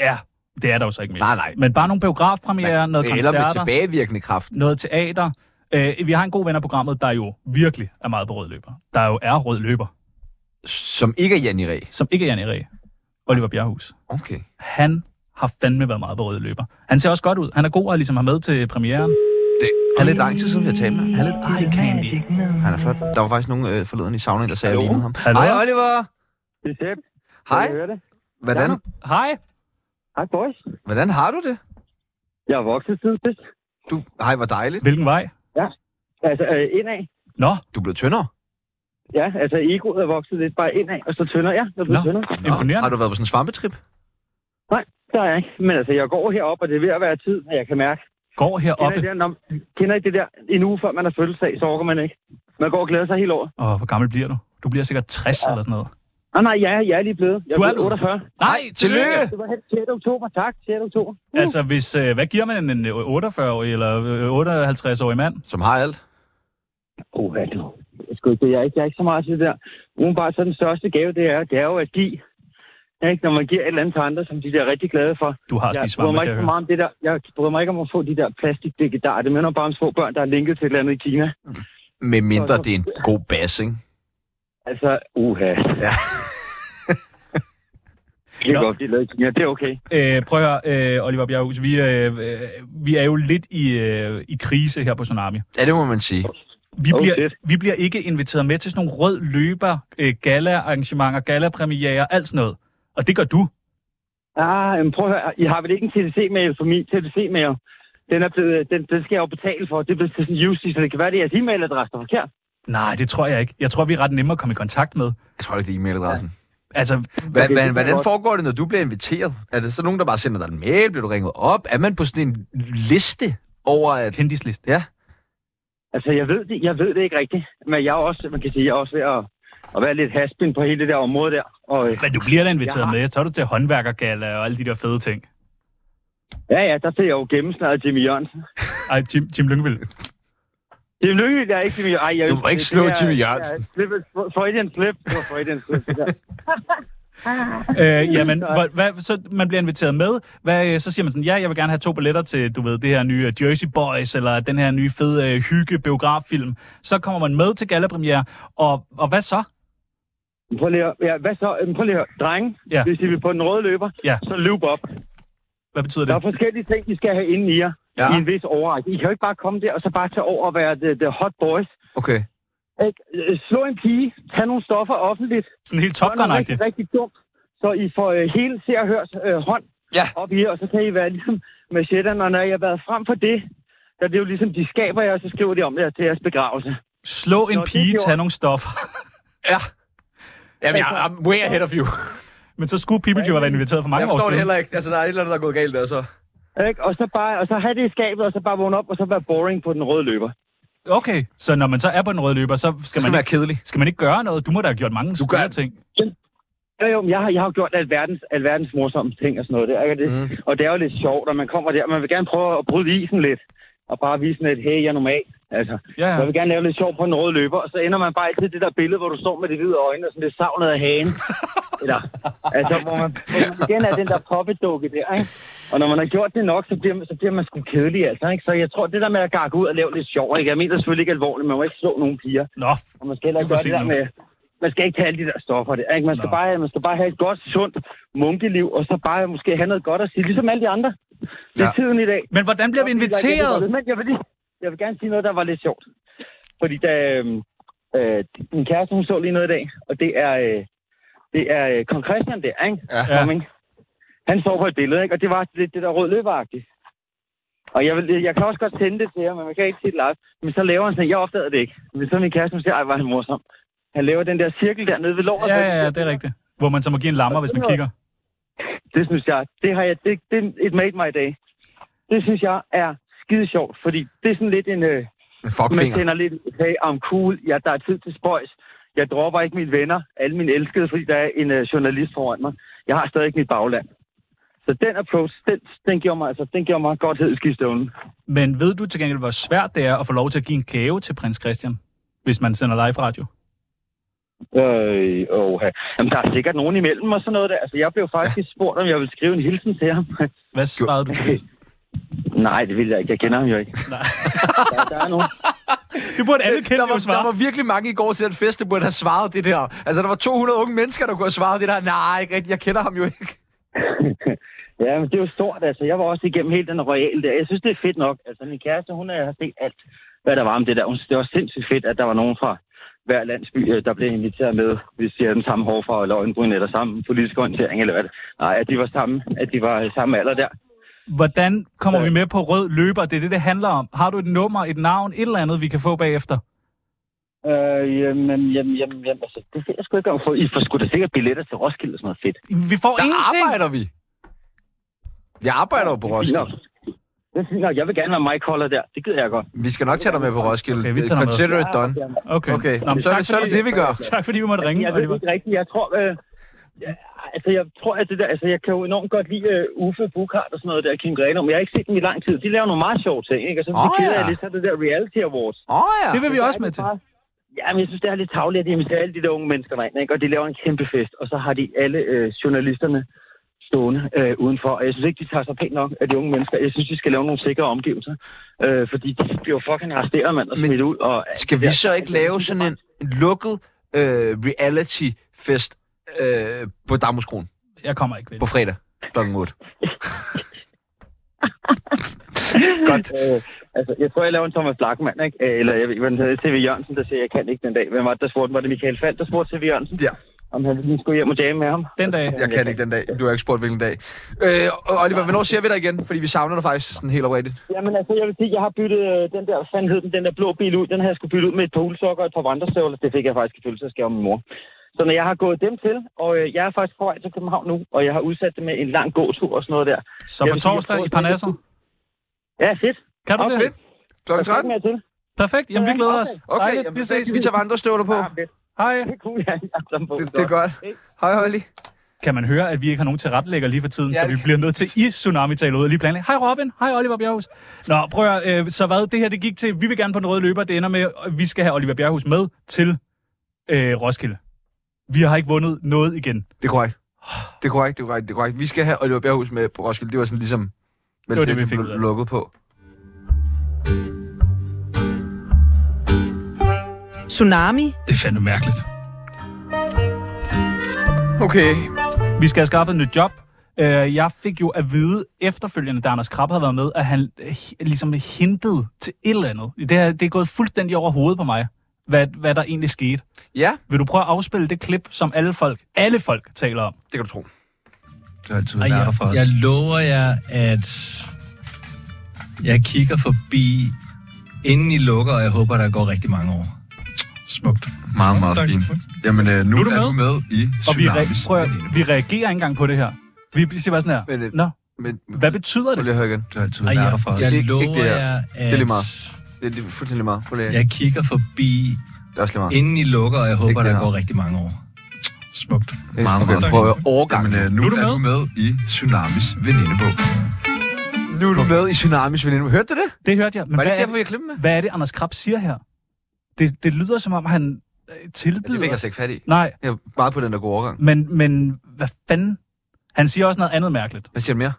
Speaker 7: Ja, det er der jo så ikke mere.
Speaker 4: Nej, nej.
Speaker 7: Men bare nogle biografpremiere, noget
Speaker 4: Eller med
Speaker 7: koncerter.
Speaker 4: tilbagevirkende kraft.
Speaker 7: noget teater. Øh, vi har en god ven af programmet, der jo virkelig er meget på rød løber. Der jo er rød løber,
Speaker 4: Som ikke er Janni Ræ.
Speaker 7: som ikke er Jan Ræ. Oliver Bjerghus.
Speaker 4: Okay.
Speaker 7: Han har fandme været meget på rød løber. Han ser også godt ud. Han er god og ligesom har med til premieren.
Speaker 4: Det er lidt lang tid siden, vi har talt med ham.
Speaker 7: Han er lidt eye candy.
Speaker 4: Han er flot. Der var faktisk nogen øh, forleden i saunaen, der sagde, at jeg
Speaker 10: Hallo?
Speaker 4: lignede ham.
Speaker 7: Hallo?
Speaker 4: Hej, Oliver.
Speaker 10: Det er Sepp.
Speaker 4: Hej.
Speaker 10: det?
Speaker 4: Hvordan,
Speaker 7: Hej.
Speaker 10: Hej, boys.
Speaker 4: hvordan har du det?
Speaker 10: Jeg er vokset siden sidst.
Speaker 4: Du, hej, hvor dejligt.
Speaker 7: Hvilken vej?
Speaker 10: Altså, øh, indad.
Speaker 7: Nå,
Speaker 4: Du er blevet tyndere.
Speaker 10: Ja, altså egoet er vokset lidt bare indad, og så tynder jeg, når du
Speaker 7: Nå.
Speaker 10: tynder.
Speaker 7: Imponerende.
Speaker 4: Har du været på sådan en svampetrip?
Speaker 10: Nej, der er jeg ikke. Men altså, jeg går herop, og det er ved at være tid, at jeg kan mærke.
Speaker 7: går
Speaker 10: Kender I,
Speaker 7: heroppe.
Speaker 10: det, når, kender I det der en uge før man har fødselsdag, så orker man ikke. Man går og glæder sig hele året.
Speaker 7: Åh, hvor gammel bliver du? Du bliver sikkert 60 eller sådan noget.
Speaker 10: Nej, nej, jeg, er- jeg er lige blevet. Jeg
Speaker 7: Du er
Speaker 10: blevet
Speaker 7: blevet.
Speaker 10: 48.
Speaker 7: Nej,
Speaker 4: tillykke!
Speaker 10: Det var helt 6. oktober. Tak, 6. oktober. Uh.
Speaker 7: Altså, hvis, øh, hvad giver man en øh, 48-årig eller øh, 58-årig mand?
Speaker 4: Som har alt.
Speaker 10: Oh, hvad du? Jeg, skulle, ikke- jeg, er ikke, jeg er ikke så meget til det der. Udenbart så er den største gave, det er, det er jo at give. Ikke? Når man giver et eller andet til andre, som de der er rigtig glade for.
Speaker 7: Du har
Speaker 10: Jeg
Speaker 7: spist
Speaker 10: bryder
Speaker 7: svampe, kan
Speaker 10: mig ikke
Speaker 7: jeg
Speaker 10: så
Speaker 7: høre.
Speaker 10: meget om det der. Jeg bryder mig ikke om at få de der plastikdække der. Det minder bare om små børn, der er linket til et eller andet i Kina.
Speaker 4: Med mindre det er en god bass, ikke?
Speaker 10: Altså, uha. Ja. [laughs] Det er godt, de er lavet i Kina. Det er okay.
Speaker 7: Øh, prøv at høre, øh, Oliver Bjerghus, vi, øh, øh, vi er jo lidt i, øh, i krise her på Tsunami.
Speaker 4: Ja, det må man sige.
Speaker 7: Vi,
Speaker 10: Oh,
Speaker 7: bliver,
Speaker 10: shit.
Speaker 7: vi bliver ikke inviteret med til sådan nogle rød løber, øh, gala-arrangementer, gala-premierer, alt sådan noget. Og det gør du.
Speaker 10: Ah, men prøv at høre. I har vel ikke en TDC-mail for min TDC-mail? Den, er blevet, den, den skal jeg jo betale for. Det er blevet til sådan en UC, så det kan være, det er jeres e-mailadresse, der er forkert.
Speaker 7: Nej, det tror jeg ikke. Jeg tror, vi er ret nemme at komme i kontakt med.
Speaker 4: Jeg tror ikke, det er e-mailadressen.
Speaker 7: Altså,
Speaker 4: Hva,
Speaker 10: Okay, det
Speaker 4: hva,
Speaker 10: kan
Speaker 4: hvordan
Speaker 10: godt.
Speaker 4: foregår det, når du bliver inviteret? Er det så nogen, der bare sender dig en mail? Bliver du ringet op? Er man på sådan en liste over at...
Speaker 7: kendisliste.
Speaker 4: Ja,
Speaker 10: Altså, jeg ved det, jeg ved det ikke rigtigt. Men jeg er også, man kan sige, jeg er også ved at, at være lidt haspin på hele det der område der. Og, øh,
Speaker 7: Men du bliver da inviteret
Speaker 10: Jeg har-
Speaker 7: med. Så er du til håndværkergala og alle de der fede ting.
Speaker 10: ja, ja, der ser jeg jo gennemsnæret Jimmy Jørgensen.
Speaker 7: [laughs] Ej, Jim, Jim Lyngvild.
Speaker 10: Det er lykkeligt, jeg er ikke Jimmy Ej, jeg,
Speaker 4: Du må ikke
Speaker 10: det
Speaker 4: slå
Speaker 10: er-
Speaker 4: Jimmy Jørgensen.
Speaker 10: det er- slip- Freudian slip. Det var Freudian slip. det der. [laughs]
Speaker 7: Øh, jamen, hvor, hvad, så man bliver inviteret med. Hvad, øh, så siger man sådan, ja, jeg vil gerne have to billetter til, du ved, det her nye øh, Jersey Boys, eller den her nye fede øh, hygge-biograffilm. Så kommer man med til gallapremiere, og, og hvad så?
Speaker 10: Men Prøv lige at, ja, hvad så? Men Prøv lige at høre. Drenge,
Speaker 7: Ja.
Speaker 10: ja. hvis I vil på den røde løber,
Speaker 7: Ja.
Speaker 10: ja. så løb op.
Speaker 7: Hvad betyder
Speaker 10: Der
Speaker 7: det?
Speaker 10: er forskellige ting, I skal have inde i jer.
Speaker 4: Ja.
Speaker 10: Ja. I en vis overrække. I kan jo ikke bare komme der og så bare tage over og være the, the hot boys.
Speaker 4: okay.
Speaker 10: Ikke? Øh, Slå en pige, tag nogle stoffer offentligt.
Speaker 7: Sådan helt
Speaker 10: Gør noget
Speaker 7: topgun
Speaker 10: rigtig, rigtig dumt. Så I får øh, hele se og hørs øh, hånd
Speaker 4: Ja.
Speaker 10: op i jer, og så kan I være ligesom machetterne. Og når I har været frem for det, der er det jo ligesom, de skaber jer, og så skriver de om det til jeres begravelse.
Speaker 7: Slå en
Speaker 10: Nå, det
Speaker 7: pige,
Speaker 10: gjorde-
Speaker 7: tag nogle stoffer. [laughs]
Speaker 4: Ja. Jamen, jeg, I'm way ahead of you.
Speaker 7: Men så skulle People jo have været inviteret for
Speaker 4: Jeg
Speaker 7: mange år
Speaker 4: forstår
Speaker 7: siden.
Speaker 4: det heller ikke. Altså, der er et eller andet, der er gået galt der, så...
Speaker 10: Ikke? Og, så bare, og så have det i skabet, og så bare vågne op, og så være boring på den røde løber.
Speaker 7: Okay, så når man så er på den røde løber, så skal,
Speaker 4: Skal
Speaker 7: man
Speaker 4: man være
Speaker 7: ikke,
Speaker 4: kedelig?
Speaker 7: skal man ikke gøre noget. Du må da have gjort mange
Speaker 4: Du gør-
Speaker 7: skøre ting.
Speaker 10: Jo, jo, men jeg har, jeg har jo gjort alverdens, alverdens morsomme ting og sådan noget der, ikke? Og Det, mm. Og det er jo lidt sjovt, og man kommer der, og man vil gerne prøve at bryde isen lidt, og bare vise sådan lidt, hey, jeg er normal. Altså,
Speaker 7: Ja,
Speaker 10: jeg
Speaker 7: ja.
Speaker 10: vil gerne lave lidt sjov på en rød løber, og så ender man bare altid i det der billede, hvor du står med de hvide øjne og sådan lidt savnet af
Speaker 7: [laughs]
Speaker 10: hagen. Eller, altså, hvor man, hvor man igen er den der poppedukke der, ikke? Og når man har gjort det nok, så bliver, man- så bliver man sgu kedelig, altså, ikke? Så jeg tror, det der med at gakke ud og lave lidt sjov, ikke? Jeg mener selvfølgelig ikke alvorligt, man må ikke slå nogen piger.
Speaker 7: Nå,
Speaker 10: Og man skal heller ikke
Speaker 7: Det er for
Speaker 10: gøre det der
Speaker 7: sent nu.
Speaker 10: med... Man skal ikke tage alle de der stoffer. Der, ikke? Man, skal
Speaker 7: Nå.
Speaker 10: bare, man skal bare have et godt, sundt munkeliv, og så bare måske have noget godt at sige, ligesom alle de andre. Det er
Speaker 4: Ja.
Speaker 10: tiden i dag.
Speaker 7: men hvordan bliver vi
Speaker 10: Jeg ved ikke,
Speaker 7: inviteret?
Speaker 10: det var- Men jeg vil, lige, jeg vil gerne sige noget, der var lidt sjovt. Fordi da, øhm, øh, min kæreste, hun så lige noget i dag, og det er, øh, det er øh, kong Christian der, ikke?
Speaker 7: Ja.
Speaker 10: Coming. Han står på et billede, ikke? Og det var lidt det der rød løberagtigt. Og jeg, vil, jeg kan også godt sende det til jer, men man kan ikke se det live. Men så laver han sådan, jeg opdagede det ikke. Men så min kæreste, hun siger, ej, var han morsom. Han laver den der cirkel der nede ved låret.
Speaker 7: Ja, ja, ja, det er rigtigt. Hvor man så må give en lammer, hvis man kigger.
Speaker 10: Det synes jeg, det har jeg, det, det, it made my day. Det synes jeg er skide sjovt, fordi det er sådan lidt en, øh,
Speaker 4: En
Speaker 10: man
Speaker 4: fuckfinger.
Speaker 10: tænder lidt, hey, I'm cool, ja, der er tid til spøjs. Jeg dropper ikke mine venner, alle mine elskede, fordi der er en øh, journalist foran mig. Jeg har stadig ikke mit bagland. Så den approach, den, den giver mig, altså, den giver mig godt hed i skistøvlen.
Speaker 7: Men ved du til gengæld, hvor svært det er at få lov til at give en gave til prins Christian, hvis man sender live radio?
Speaker 10: Øh, oh, Jamen, der er sikkert nogen imellem og sådan noget der. Altså, jeg blev faktisk spurgt, om jeg ville skrive en hilsen til ham. [laughs]
Speaker 7: Hvad svarede du til det?
Speaker 10: Nej, det vil jeg ikke. Jeg kender ham jo ikke. Nej. der, der er nogen.
Speaker 7: Det burde alle kendte
Speaker 4: Der
Speaker 7: jo
Speaker 4: var, der var
Speaker 7: svare.
Speaker 4: virkelig mange i går til den fest, der burde have svaret det der. Altså, der var 200 unge mennesker, der kunne have svaret det der. Nej, ikke rigtigt. Jeg kender ham jo ikke.
Speaker 10: Ja, men det er jo stort, altså. Jeg var også igennem hele den royale der. Jeg synes, det er fedt nok. Altså, min kæreste, hun øh, har set alt, hvad der var om det der. Hun synes, det var sindssygt fedt, at der var nogen fra hver landsby, øh, der blev inviteret med, hvis de havde den samme hårfarve eller øjenbryn, eller samme politiske orientering, eller hvad det. Nej, at de var samme, at de var øh, samme alder der.
Speaker 7: Hvordan kommer vi med på rød løber? Det er det, det handler om. Har du et nummer, et navn, et eller andet, vi kan få bagefter?
Speaker 10: Øh, jamen, jamen, jamen, jamen, altså, det ved jeg sgu ikke om. For, I får sgu da sikkert billetter til Roskilde og sådan noget fedt.
Speaker 7: Vi får
Speaker 4: Der
Speaker 7: ingenting.
Speaker 4: arbejder vi. Vi arbejder jo på
Speaker 10: Nå,
Speaker 4: Roskilde.
Speaker 10: det er fint nok. Jeg vil gerne være Mike Collar der. Det gider jeg godt.
Speaker 4: Vi skal nok tage dig med på Roskilde.
Speaker 7: Okay, vi tager dig med.
Speaker 4: Consider it done.
Speaker 7: Okay.
Speaker 4: Okay, Nå, men så, er
Speaker 7: tak
Speaker 4: det, så er det
Speaker 7: fordi-
Speaker 4: det, vi gør.
Speaker 7: [laughs] Tak fordi vi måtte ringe,
Speaker 10: Jeg ved det
Speaker 7: Oliver.
Speaker 10: ikke rigtigt. Jeg tror, øh, ja, altså, jeg tror, at det der, altså, jeg kan jo enormt godt lide øh, Uffe Bukart og sådan noget der, Kim Grene, men jeg har ikke set dem i lang tid. De laver nogle meget sjove ting, ikke? Og så
Speaker 4: Åh,
Speaker 10: oh, keder
Speaker 4: ja.
Speaker 10: jeg lidt af det der reality awards.
Speaker 4: Åh oh, ja.
Speaker 7: Det vil vi også med
Speaker 10: Det
Speaker 7: til.
Speaker 10: er bare- Ja, men jeg synes, det er lidt tavligt, at de inviterer alle de der unge mennesker derind, ikke? Og de laver en kæmpe fest, og så har de alle øh, journalisterne stående øh, udenfor. Og jeg synes ikke, de tager sig pænt nok af de unge mennesker. Jeg synes, de skal lave nogle sikre omgivelser, øh, fordi de bliver jo fucking arresteret, mand, og
Speaker 4: Men
Speaker 10: smidt ud. Og,
Speaker 4: Skal vi så ikke lave sådan en en lukket øh, reality-fest øh, på Damhuskron?
Speaker 7: Jeg kommer ikke ved
Speaker 4: På fredag kl. 8.
Speaker 10: Godt. Øh, altså, jeg tror, jeg laver en Thomas Blackman, ikke? Øh, Eller jeg ved, hvad den hedder, TV Jørgensen, der siger, jeg kan ikke den dag. Hvem var det, der spurgte? Var det Michael Falk, der spurgte TV Jørgensen?
Speaker 4: Ja.
Speaker 10: Om han lige skulle hjem og jamme med ham?
Speaker 7: Den dag.
Speaker 4: Jeg kan ikke den dag. Du har ikke spurgt, hvilken dag. Øh, og Oliver, hvornår ser vi dig igen? Fordi vi savner dig faktisk sådan helt oprigtigt.
Speaker 10: Jamen altså, jeg vil sige, jeg har byttet øh, den der, hvad fanden hed den, den der blå bil ud. Den har jeg skulle bytte ud med et par uldsokker og et par vandrestøvler. Det fik jeg faktisk i fødselsdagsgave af min mor. Så når jeg har gået dem til, og øh, jeg er faktisk på vej til København nu, og jeg har udsat det med en lang gåtur og sådan noget der.
Speaker 7: Så
Speaker 10: Jeg
Speaker 7: på
Speaker 10: vil sige, jeg
Speaker 7: torsdag
Speaker 10: prøver
Speaker 7: i
Speaker 10: at-
Speaker 7: Parnasset.
Speaker 10: Ja, fedt.
Speaker 7: Kan du
Speaker 4: Nå,
Speaker 7: det?
Speaker 4: fedt. Klokken 13?
Speaker 10: med til.
Speaker 7: Perfekt. Jamen, vi glæder os.
Speaker 4: Okay,
Speaker 7: Dejligt.
Speaker 4: jamen,
Speaker 7: vi ses.
Speaker 4: perfekt. vi tager vandrestøvler på.
Speaker 10: Ja, fedt.
Speaker 7: Hej.
Speaker 10: Det er cool, ja.
Speaker 4: Det, det er godt. Hej, Holly.
Speaker 7: Kan man høre, at vi ikke har nogen tilrettelægger lige for tiden,
Speaker 4: Ja,
Speaker 7: ja, så
Speaker 4: det
Speaker 7: vi
Speaker 4: kan-
Speaker 7: bliver nødt til i tsunami tale ud og lige planlægge. Hej Robin, hej Oliver Bjerghus. Nå, prøv at, øh, så hvad, det her det gik til, vi vil gerne på den røde løber, det ender med, at vi skal have Oliver Bjerghus med til øh, Roskilde. Vi har ikke vundet noget igen.
Speaker 4: Det er korrekt. Det er korrekt, det er korrekt, det er korrekt. Vi skal have Oliver Bjerghus med på Roskilde. Det var sådan ligesom...
Speaker 7: Det var det, vi fik ud af det.
Speaker 4: lukket på.
Speaker 11: Tsunami.
Speaker 6: Det er fandme mærkeligt.
Speaker 4: Okay.
Speaker 7: Vi skal have skaffet et nyt job. Øh, Jeg fik jo at vide efterfølgende, da Anders Krab havde været med, at han øh, hi- ligesom hintede til et eller andet. Det, her, det er gået fuldstændig over hovedet på mig, hvad, hvad der egentlig skete.
Speaker 4: Ja,
Speaker 7: Vil du prøve at afspille det klip, som alle folk, alle folk taler om?
Speaker 4: det kan du tro.
Speaker 5: Det er altid
Speaker 12: Og
Speaker 5: værd
Speaker 12: jeg,
Speaker 5: for.
Speaker 12: jeg lover jer, at jeg kigger forbi, inden I lukker, og jeg håber, der går rigtig mange år.
Speaker 5: Smukt. Meget, meget fint. Jamen, øh, nu,
Speaker 7: Nu
Speaker 5: nu
Speaker 7: er
Speaker 5: er,
Speaker 7: du
Speaker 5: du med i
Speaker 7: Og vi,
Speaker 5: Tsunamis.
Speaker 7: re- prøv, at-
Speaker 4: øh,
Speaker 7: vi reagerer ikke engang på det her. Vi bliver- siger bare sådan
Speaker 4: Men,
Speaker 7: her.
Speaker 4: øh,
Speaker 7: Nå,
Speaker 4: Men
Speaker 7: hvad betyder
Speaker 4: prøv
Speaker 7: det?
Speaker 4: lige at høre igen.
Speaker 5: Det er altid
Speaker 12: Og
Speaker 5: værd
Speaker 12: jeg,
Speaker 5: for.
Speaker 12: jeg
Speaker 4: Ikke- ikke
Speaker 12: lover
Speaker 4: det her.
Speaker 12: jer,
Speaker 4: Det er lige
Speaker 12: at
Speaker 4: meget. Det er lige- fuldstændig meget. Prøv lige at-
Speaker 12: jeg kigger forbi,
Speaker 4: Det er også lige meget.
Speaker 12: inden I lukker, og jeg håber,
Speaker 4: det
Speaker 12: der
Speaker 4: her.
Speaker 12: går rigtig mange år.
Speaker 5: Smukt. Meget,
Speaker 4: Okay,
Speaker 5: meget
Speaker 4: prøv at
Speaker 5: fint.
Speaker 4: høre overgangen.
Speaker 5: Jamen, øh, nu,
Speaker 7: Nu er du
Speaker 5: er du med i Tsunamis venindebog.
Speaker 4: Nu er du med i Tsunamis veninde. Hørte du det?
Speaker 7: Det hørte jeg. Men
Speaker 4: Var det
Speaker 7: hvad,
Speaker 4: ikke
Speaker 7: er
Speaker 4: derfor,
Speaker 7: det,
Speaker 4: jeg klippede med?
Speaker 7: hvad er det, Anders Krab siger her? Det, det lyder som om, han øh,
Speaker 4: Ja, det altså.
Speaker 7: tilbyder...
Speaker 4: fik jeg slet ikke fat i.
Speaker 7: Nej,
Speaker 4: Jeg er meget på den der gode overgang.
Speaker 7: men, men hvad fanden? Han siger også noget andet mærkeligt.
Speaker 4: Hvad siger du mere?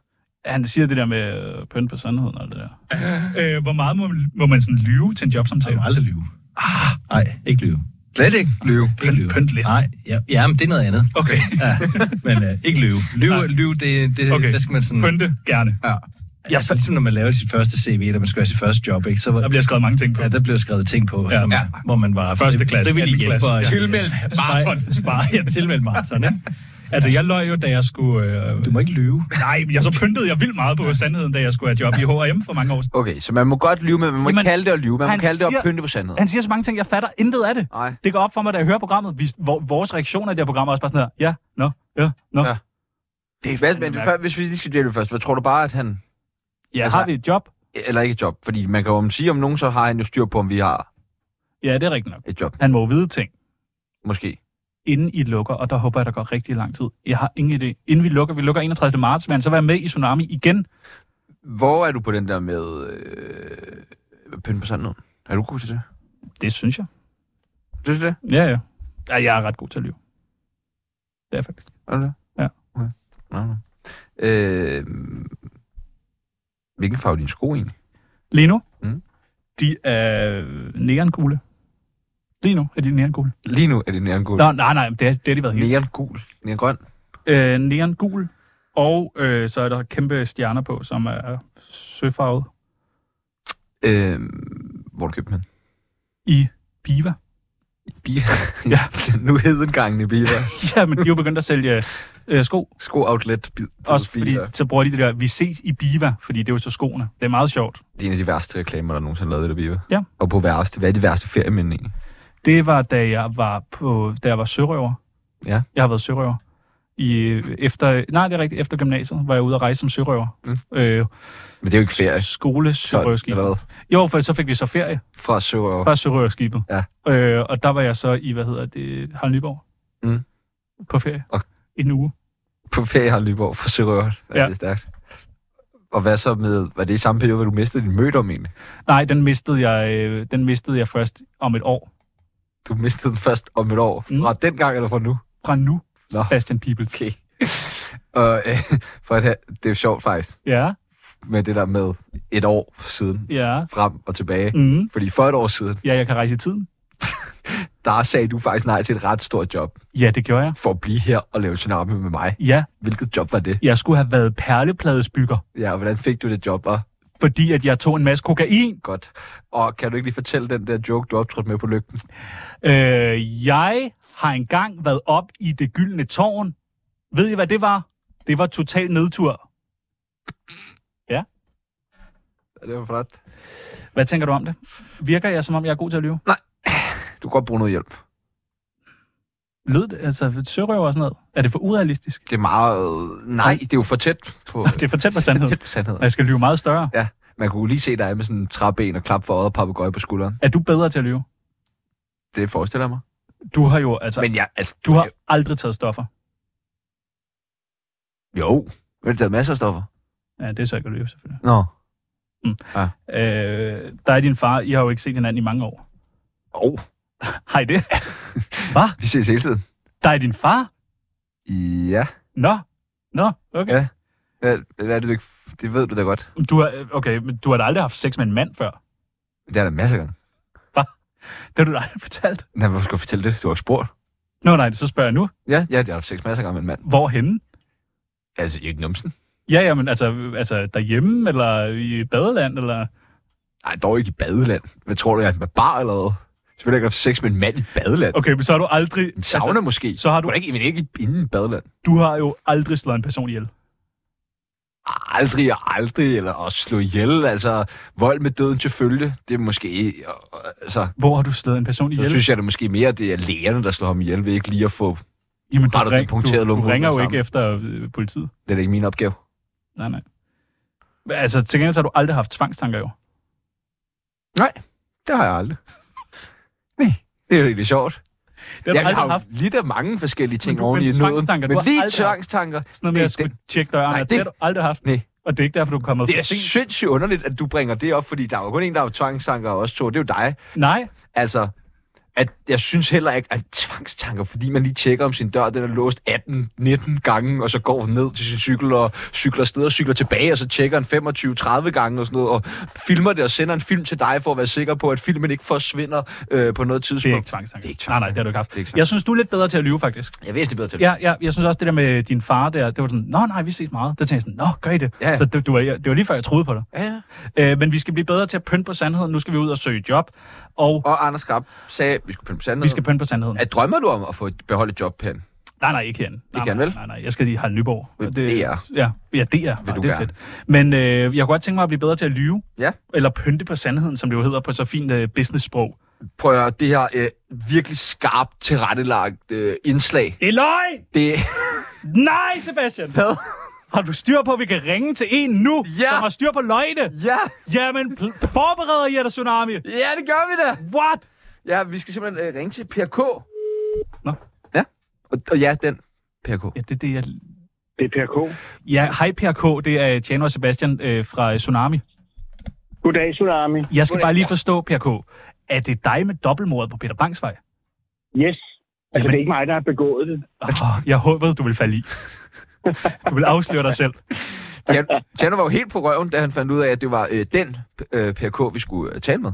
Speaker 7: Han siger det der med øh, pynt på sandheden og alt det der.
Speaker 6: Øh, hvor meget må, må man sådan lyve til en
Speaker 12: Jeg
Speaker 6: jobsamtale?
Speaker 12: vil aldrig lyve. Ah, nej, ikke lyve.
Speaker 5: Slet ikke løve.
Speaker 12: Ikke lyve.
Speaker 6: pynt lidt.
Speaker 12: Nej, ja, ja, men det er noget andet.
Speaker 6: Okay,
Speaker 12: Ja, men øh, ikke lyve. Lyve, lyve det, det,
Speaker 6: Okay.
Speaker 12: okay. det skal man sådan...
Speaker 6: pynte gerne.
Speaker 12: Ja, altså, ligesom når man laver sit første CV, da man skal have sit første job, ikke? Så,
Speaker 6: Der bliver skrevet mange ting på.
Speaker 12: ja, der blev skrevet ting på,
Speaker 6: Ja.
Speaker 12: ja. som,
Speaker 6: Ja.
Speaker 12: ja. hvor man var...
Speaker 6: Første klasse,
Speaker 12: frivillig
Speaker 6: anden klasse.
Speaker 12: hjælper.
Speaker 6: Tilmeldt maraton.
Speaker 12: Spare, ja, tilmeldt maraton, ikke?
Speaker 6: Altså, jeg løj jo, da jeg skulle... Øh,
Speaker 12: Du må ikke lyve.
Speaker 6: Nej, men jeg så pyntede jeg vildt meget på sandheden, da jeg skulle have job i H&M for mange år siden.
Speaker 4: Okay, så man må godt lyve, men man må
Speaker 7: Jamen,
Speaker 4: ikke kalde det at lyve. Man
Speaker 7: han
Speaker 4: må kalde det
Speaker 7: siger-
Speaker 4: at pynte på sandheden.
Speaker 7: Han siger så mange ting, jeg fatter intet af det.
Speaker 4: Nej.
Speaker 7: Det går op for mig, da jeg hører programmet. Vi, vor- vores reaktion af det her program er også bare sådan her. Ja, nå, ja, nå.
Speaker 4: Ja.
Speaker 7: Det
Speaker 4: Hvad,
Speaker 7: er fandme
Speaker 4: men det,
Speaker 7: mærkeligt.
Speaker 4: før, hvis vi lige skal dvæle ved først, hvad tror du bare, at han...
Speaker 7: Ja,
Speaker 4: altså-
Speaker 7: har vi et job?
Speaker 4: Eller ikke et job, fordi man kan jo om sige om nogen, så har han jo styr på, om vi har
Speaker 7: Ja, det er rigtigt nok.
Speaker 4: et job.
Speaker 7: Han må jo vide ting,
Speaker 4: Måske.
Speaker 7: inden I lukker, og der håber jeg, der går rigtig lang tid. Jeg har ingen idé. Inden vi lukker, vi lukker 31. marts, vil han så være med i Tsunami igen?
Speaker 4: Hvor er du på den der med øh, pynte på sandheden? Er du god til det?
Speaker 7: Det synes jeg.
Speaker 4: Synes du det?
Speaker 7: Ja, ja. ja jeg er ret god til at lyve. Det er jeg faktisk.
Speaker 4: Er du det?
Speaker 7: Ja.
Speaker 4: Okay. Nå, nå. Øh, hvilken farve er dine sko egentlig?
Speaker 7: Lige nu,
Speaker 4: Mm.
Speaker 7: de er neonkugle. Lige nu er de neonkugle.
Speaker 4: Lige nu er det næren gul.
Speaker 7: Nå, nej, nej, det, er, det har de været helt.
Speaker 4: Næren gul. Næren grøn.
Speaker 7: Øh, neon gul, og øh, så er der kæmpe stjerner på, som er søfarvet
Speaker 4: Øh, hvor har du købte den? henne?
Speaker 7: i Biva. [laughs]
Speaker 4: I Biva.
Speaker 7: Ja.
Speaker 4: Den [laughs] nu hedengangne Biva.
Speaker 7: ja, men de er jo begyndt at sælge øh, sko,
Speaker 4: Sko outlet. Bi-
Speaker 7: også fordi
Speaker 4: Biva.
Speaker 7: så bruger de det der, vi ses i Biva, fordi det er jo så skoene. Det er meget sjovt.
Speaker 4: Det er en af de værste reklamer, der nogensinde er lavet i det Biva.
Speaker 7: Ja.
Speaker 4: Og på værste. Hvad er de værste feriemænd egentlig?
Speaker 7: Det var, da jeg var, på, da jeg var sørøver.
Speaker 4: Ja.
Speaker 7: Jeg har været sørøver. I, efter, nej, det er rigtigt. Efter gymnasiet var jeg ude at rejse som sørøver.
Speaker 4: Mm.
Speaker 7: Øh,
Speaker 4: Men det er jo ikke ferie.
Speaker 7: skole
Speaker 4: Sådan, eller
Speaker 7: sørøverskibet.
Speaker 4: hvad?
Speaker 7: Jo, for så fik vi så ferie
Speaker 4: Fra Søger.
Speaker 7: fra sørøverskibet.
Speaker 4: Ja.
Speaker 7: Øh, og der var jeg så i, hvad hedder det, Harald Nyborg.
Speaker 4: Mm.
Speaker 7: På ferie.
Speaker 4: Og-
Speaker 7: En uge.
Speaker 4: på ferie har Nyborg fra Sørøren. Ja.
Speaker 7: Ja.
Speaker 4: Det er stærkt. Og hvad så med, var det i samme periode, hvor du mistede din mødom egentlig?
Speaker 7: Nej, den mistede jeg, øh, den mistede jeg først om et år.
Speaker 4: Du mistede den først om et år.
Speaker 7: Mm.
Speaker 4: Fra mm. dengang eller fra nu?
Speaker 7: Fra nu,
Speaker 4: Nå.
Speaker 7: Sebastian Pibels.
Speaker 4: Okay. [laughs] Og øh, for at, have- det er jo sjovt faktisk,
Speaker 7: Ja,
Speaker 4: med det der med et år siden,
Speaker 7: ja.
Speaker 4: frem og tilbage.
Speaker 7: Mm.
Speaker 4: Fordi for et år siden,
Speaker 7: Ja, jeg kan rejse i tiden.
Speaker 4: der sagde du faktisk nej til et ret stort job.
Speaker 7: Ja, det gjorde jeg.
Speaker 4: For at blive her og lave tsunami med mig.
Speaker 7: Ja.
Speaker 4: Hvilket job var det?
Speaker 7: Jeg skulle have været perlepladesbygger.
Speaker 4: Ja, og hvordan fik du det job, var?
Speaker 7: Fordi at jeg tog en masse kokain.
Speaker 4: Godt. Og kan du ikke lige fortælle den der joke, du optrådte med på lygten?
Speaker 7: Øh, jeg har engang været op i det gyldne tårn. Ved I, hvad det var? Det var total nedtur. Ja.
Speaker 4: Det var flot.
Speaker 7: Hvad tænker du om det? Virker jeg, som om jeg er god til at lyve?
Speaker 4: Nej. Du kan godt bruge noget hjælp.
Speaker 7: Lød det, altså sørøver og sådan noget? Er det for urealistisk?
Speaker 4: Det er meget... Nej, det er jo for tæt på...
Speaker 7: [laughs] det er for Altså- tæt på
Speaker 4: [laughs]
Speaker 7: sandheden.
Speaker 4: på sandheden.
Speaker 7: Og jeg skal lyve meget større.
Speaker 4: Ja, man kunne lige se dig med sådan en træben og klap for øjet og papegøje på skulderen.
Speaker 7: Er du bedre til at lyve?
Speaker 4: Det forestiller jeg mig.
Speaker 7: Du har jo, altså...
Speaker 4: Men jeg, altså,
Speaker 7: Du har aldrig taget stoffer.
Speaker 4: Jo, du har taget masser af stoffer.
Speaker 7: Ja, det er så ikke at lyve, selvfølgelig.
Speaker 4: Nå.
Speaker 7: Mm.
Speaker 4: Ja.
Speaker 7: Øh, der er din far. I har jo ikke set hinanden i mange år.
Speaker 4: Oh,
Speaker 7: Har I det? Hvad?
Speaker 4: [laughs] vi ses hele tiden.
Speaker 7: Der er din far?
Speaker 4: Ja.
Speaker 7: Nå. Nå, okay.
Speaker 4: Ja. Hvad, hvad er det, du ikke... Det ved du da godt.
Speaker 7: Du har, øh, okay, men du har da aldrig haft sex med en mand før.
Speaker 4: Det er der masser af gange.
Speaker 7: Det har du da aldrig fortalt.
Speaker 4: Nej, hvorfor skal jeg fortælle det? Du har ikke spurgt.
Speaker 7: Nå nej, så spørger jeg nu.
Speaker 4: Ja, ja, jeg har haft sex masser af gange med en mand.
Speaker 7: Hvorhenne?
Speaker 4: Altså, ikke numsen.
Speaker 7: Ja, ja, men altså, altså derhjemme, eller i badeland, eller...
Speaker 4: Nej, dog ikke i badeland. Hvad tror du, jeg er med bar eller hvad? Selvfølgelig har jeg ikke haft sex med en mand i badeland.
Speaker 7: Okay, men så har du aldrig...
Speaker 4: En sauna altså, måske.
Speaker 7: så har du-
Speaker 4: Men ikke, men ikke inden i badeland.
Speaker 7: Du har jo aldrig slået en person ihjel.
Speaker 4: aldrig og aldrig, eller at slå ihjel, altså vold med døden til følge, det er måske, og- og- altså,
Speaker 7: Hvor har du slået en person
Speaker 4: så
Speaker 7: ihjel?
Speaker 4: synes jeg det er måske mere, det er lægerne, der slår ham ihjel, ved ikke lige at få,
Speaker 7: Jamen, du,
Speaker 4: Har du den
Speaker 7: ring,
Speaker 4: punkterede
Speaker 7: du, du
Speaker 4: lumpe
Speaker 7: ringer jo
Speaker 4: sammen?
Speaker 7: ikke efter øh, politiet.
Speaker 4: det er da ikke min opgave.
Speaker 7: Nej, nej. Men Altså, til gengæld så har du aldrig haft tvangstanker, jo.
Speaker 4: Nej, det har jeg aldrig. Nej, det er jo rigtig sjovt.
Speaker 7: Det har
Speaker 4: jeg
Speaker 7: du aldrig
Speaker 4: har jo
Speaker 7: haft.
Speaker 4: lidt af mange forskellige ting
Speaker 7: du-
Speaker 4: oven
Speaker 7: men
Speaker 4: i nøden,
Speaker 7: tvangstanker, du
Speaker 4: men
Speaker 7: har
Speaker 4: lige
Speaker 7: aldrig haft.
Speaker 4: tvangstanker,
Speaker 7: Sådan noget med
Speaker 4: Nej,
Speaker 7: at skulle tjekke døren,
Speaker 4: nej,
Speaker 7: nej, det,
Speaker 4: det-
Speaker 7: det har du aldrig haft.
Speaker 4: nej.
Speaker 7: Og det er ikke derfor, du er kommet
Speaker 4: det
Speaker 7: for
Speaker 4: er
Speaker 7: sent.
Speaker 4: sindssygt underligt, at du bringer det op, fordi der er jo kun en, der har tvangstanker, og også to, det er jo dig.
Speaker 7: Nej,
Speaker 4: Altså, at jeg synes heller ikke, at tvangstanker, fordi man lige tjekker om sin dør, den er låst 18-19 gange, og så går ned til sin cykel og cykler afsted og cykler tilbage, og så tjekker den 25-30 gange og sådan noget, og filmer det og sender en film til dig for at være sikker på, at filmen ikke forsvinder øh, på noget tidspunkt.
Speaker 7: det er ikke tvangstanker.
Speaker 4: Det er ikke
Speaker 7: nej, nej, det har du ikke haft. jeg synes, du er lidt bedere til at lyve, faktisk.
Speaker 4: Jeg vidste det bedre til.
Speaker 7: Ja, ja, jeg synes også, det der med din far der, det var sådan, nå nej, vi ses meget. Der tænkte jeg sådan, nå, gør I det?
Speaker 4: Ja, ja.
Speaker 7: Så det, du var, det var lige før, jeg troede på dig.
Speaker 4: ja, ja.
Speaker 7: Øh, men vi skal blive bedre til at pynte på sandheden. Nu skal vi ud og søge job, og
Speaker 4: Og Anders Grab sagde, at vi skulle pynte på sandheden.
Speaker 7: vi skal pynte på sandheden.
Speaker 4: At drømmer du om at få et beholde et job, Pen?
Speaker 7: Nej, nej, ikke herinde. Nej,
Speaker 4: Ikke herinde,
Speaker 7: nej,
Speaker 4: vel?
Speaker 7: Nej, nej, jeg skal i Harald Nyborg.
Speaker 4: Ved
Speaker 7: Og
Speaker 4: DR.
Speaker 7: Ja, ja DR. Vil
Speaker 4: du
Speaker 7: det er
Speaker 4: gerne?
Speaker 7: fedt. Men øh, jeg kunne godt tænke mig at blive bedre til at lyve.
Speaker 4: Ja.
Speaker 7: Eller pynte på sandheden, som det jo hedder på så fint øh, business-sprog.
Speaker 4: Prøv at høre, det her øh, virkelig skarpt tilrettelagt øh, indslag,
Speaker 7: Det er løgn!
Speaker 4: det...
Speaker 7: [laughs] Nej, Sebastian!
Speaker 4: Hvad?
Speaker 7: Har du styr på, at vi kan ringe til en nu,
Speaker 4: Ja.
Speaker 7: som har styr på løgne?
Speaker 4: ja,
Speaker 7: Jamen, pl- forbereder I jer der tsunami?
Speaker 4: ja, det gør vi da!
Speaker 7: What?
Speaker 4: Ja, vi skal simpelthen øh, ringe til Per K.
Speaker 7: Nå.
Speaker 4: Ja. Og, og ja, den Per K.
Speaker 7: Ja, det er det, jeg...
Speaker 10: Det er Per K.
Speaker 7: Ja, hej Per K. Det er Tjano og Sebastian øh, fra øh, Tsunami.
Speaker 10: Goddag, Tsunami.
Speaker 7: Jeg skal bare lige forstå, Per K. Er det dig med dobbeltmordet på Peter Bangsvej?
Speaker 10: Yes. Altså,
Speaker 7: Jamen-
Speaker 10: det er ikke mig, der har begået det.
Speaker 7: Oh, jeg håbede, du ville falde i. Du vil afsløre dig selv.
Speaker 4: Jan- Tjano var jo helt på røven, da han fandt ud af, at det var øh, den øh, Per K, vi skulle øh, tale med.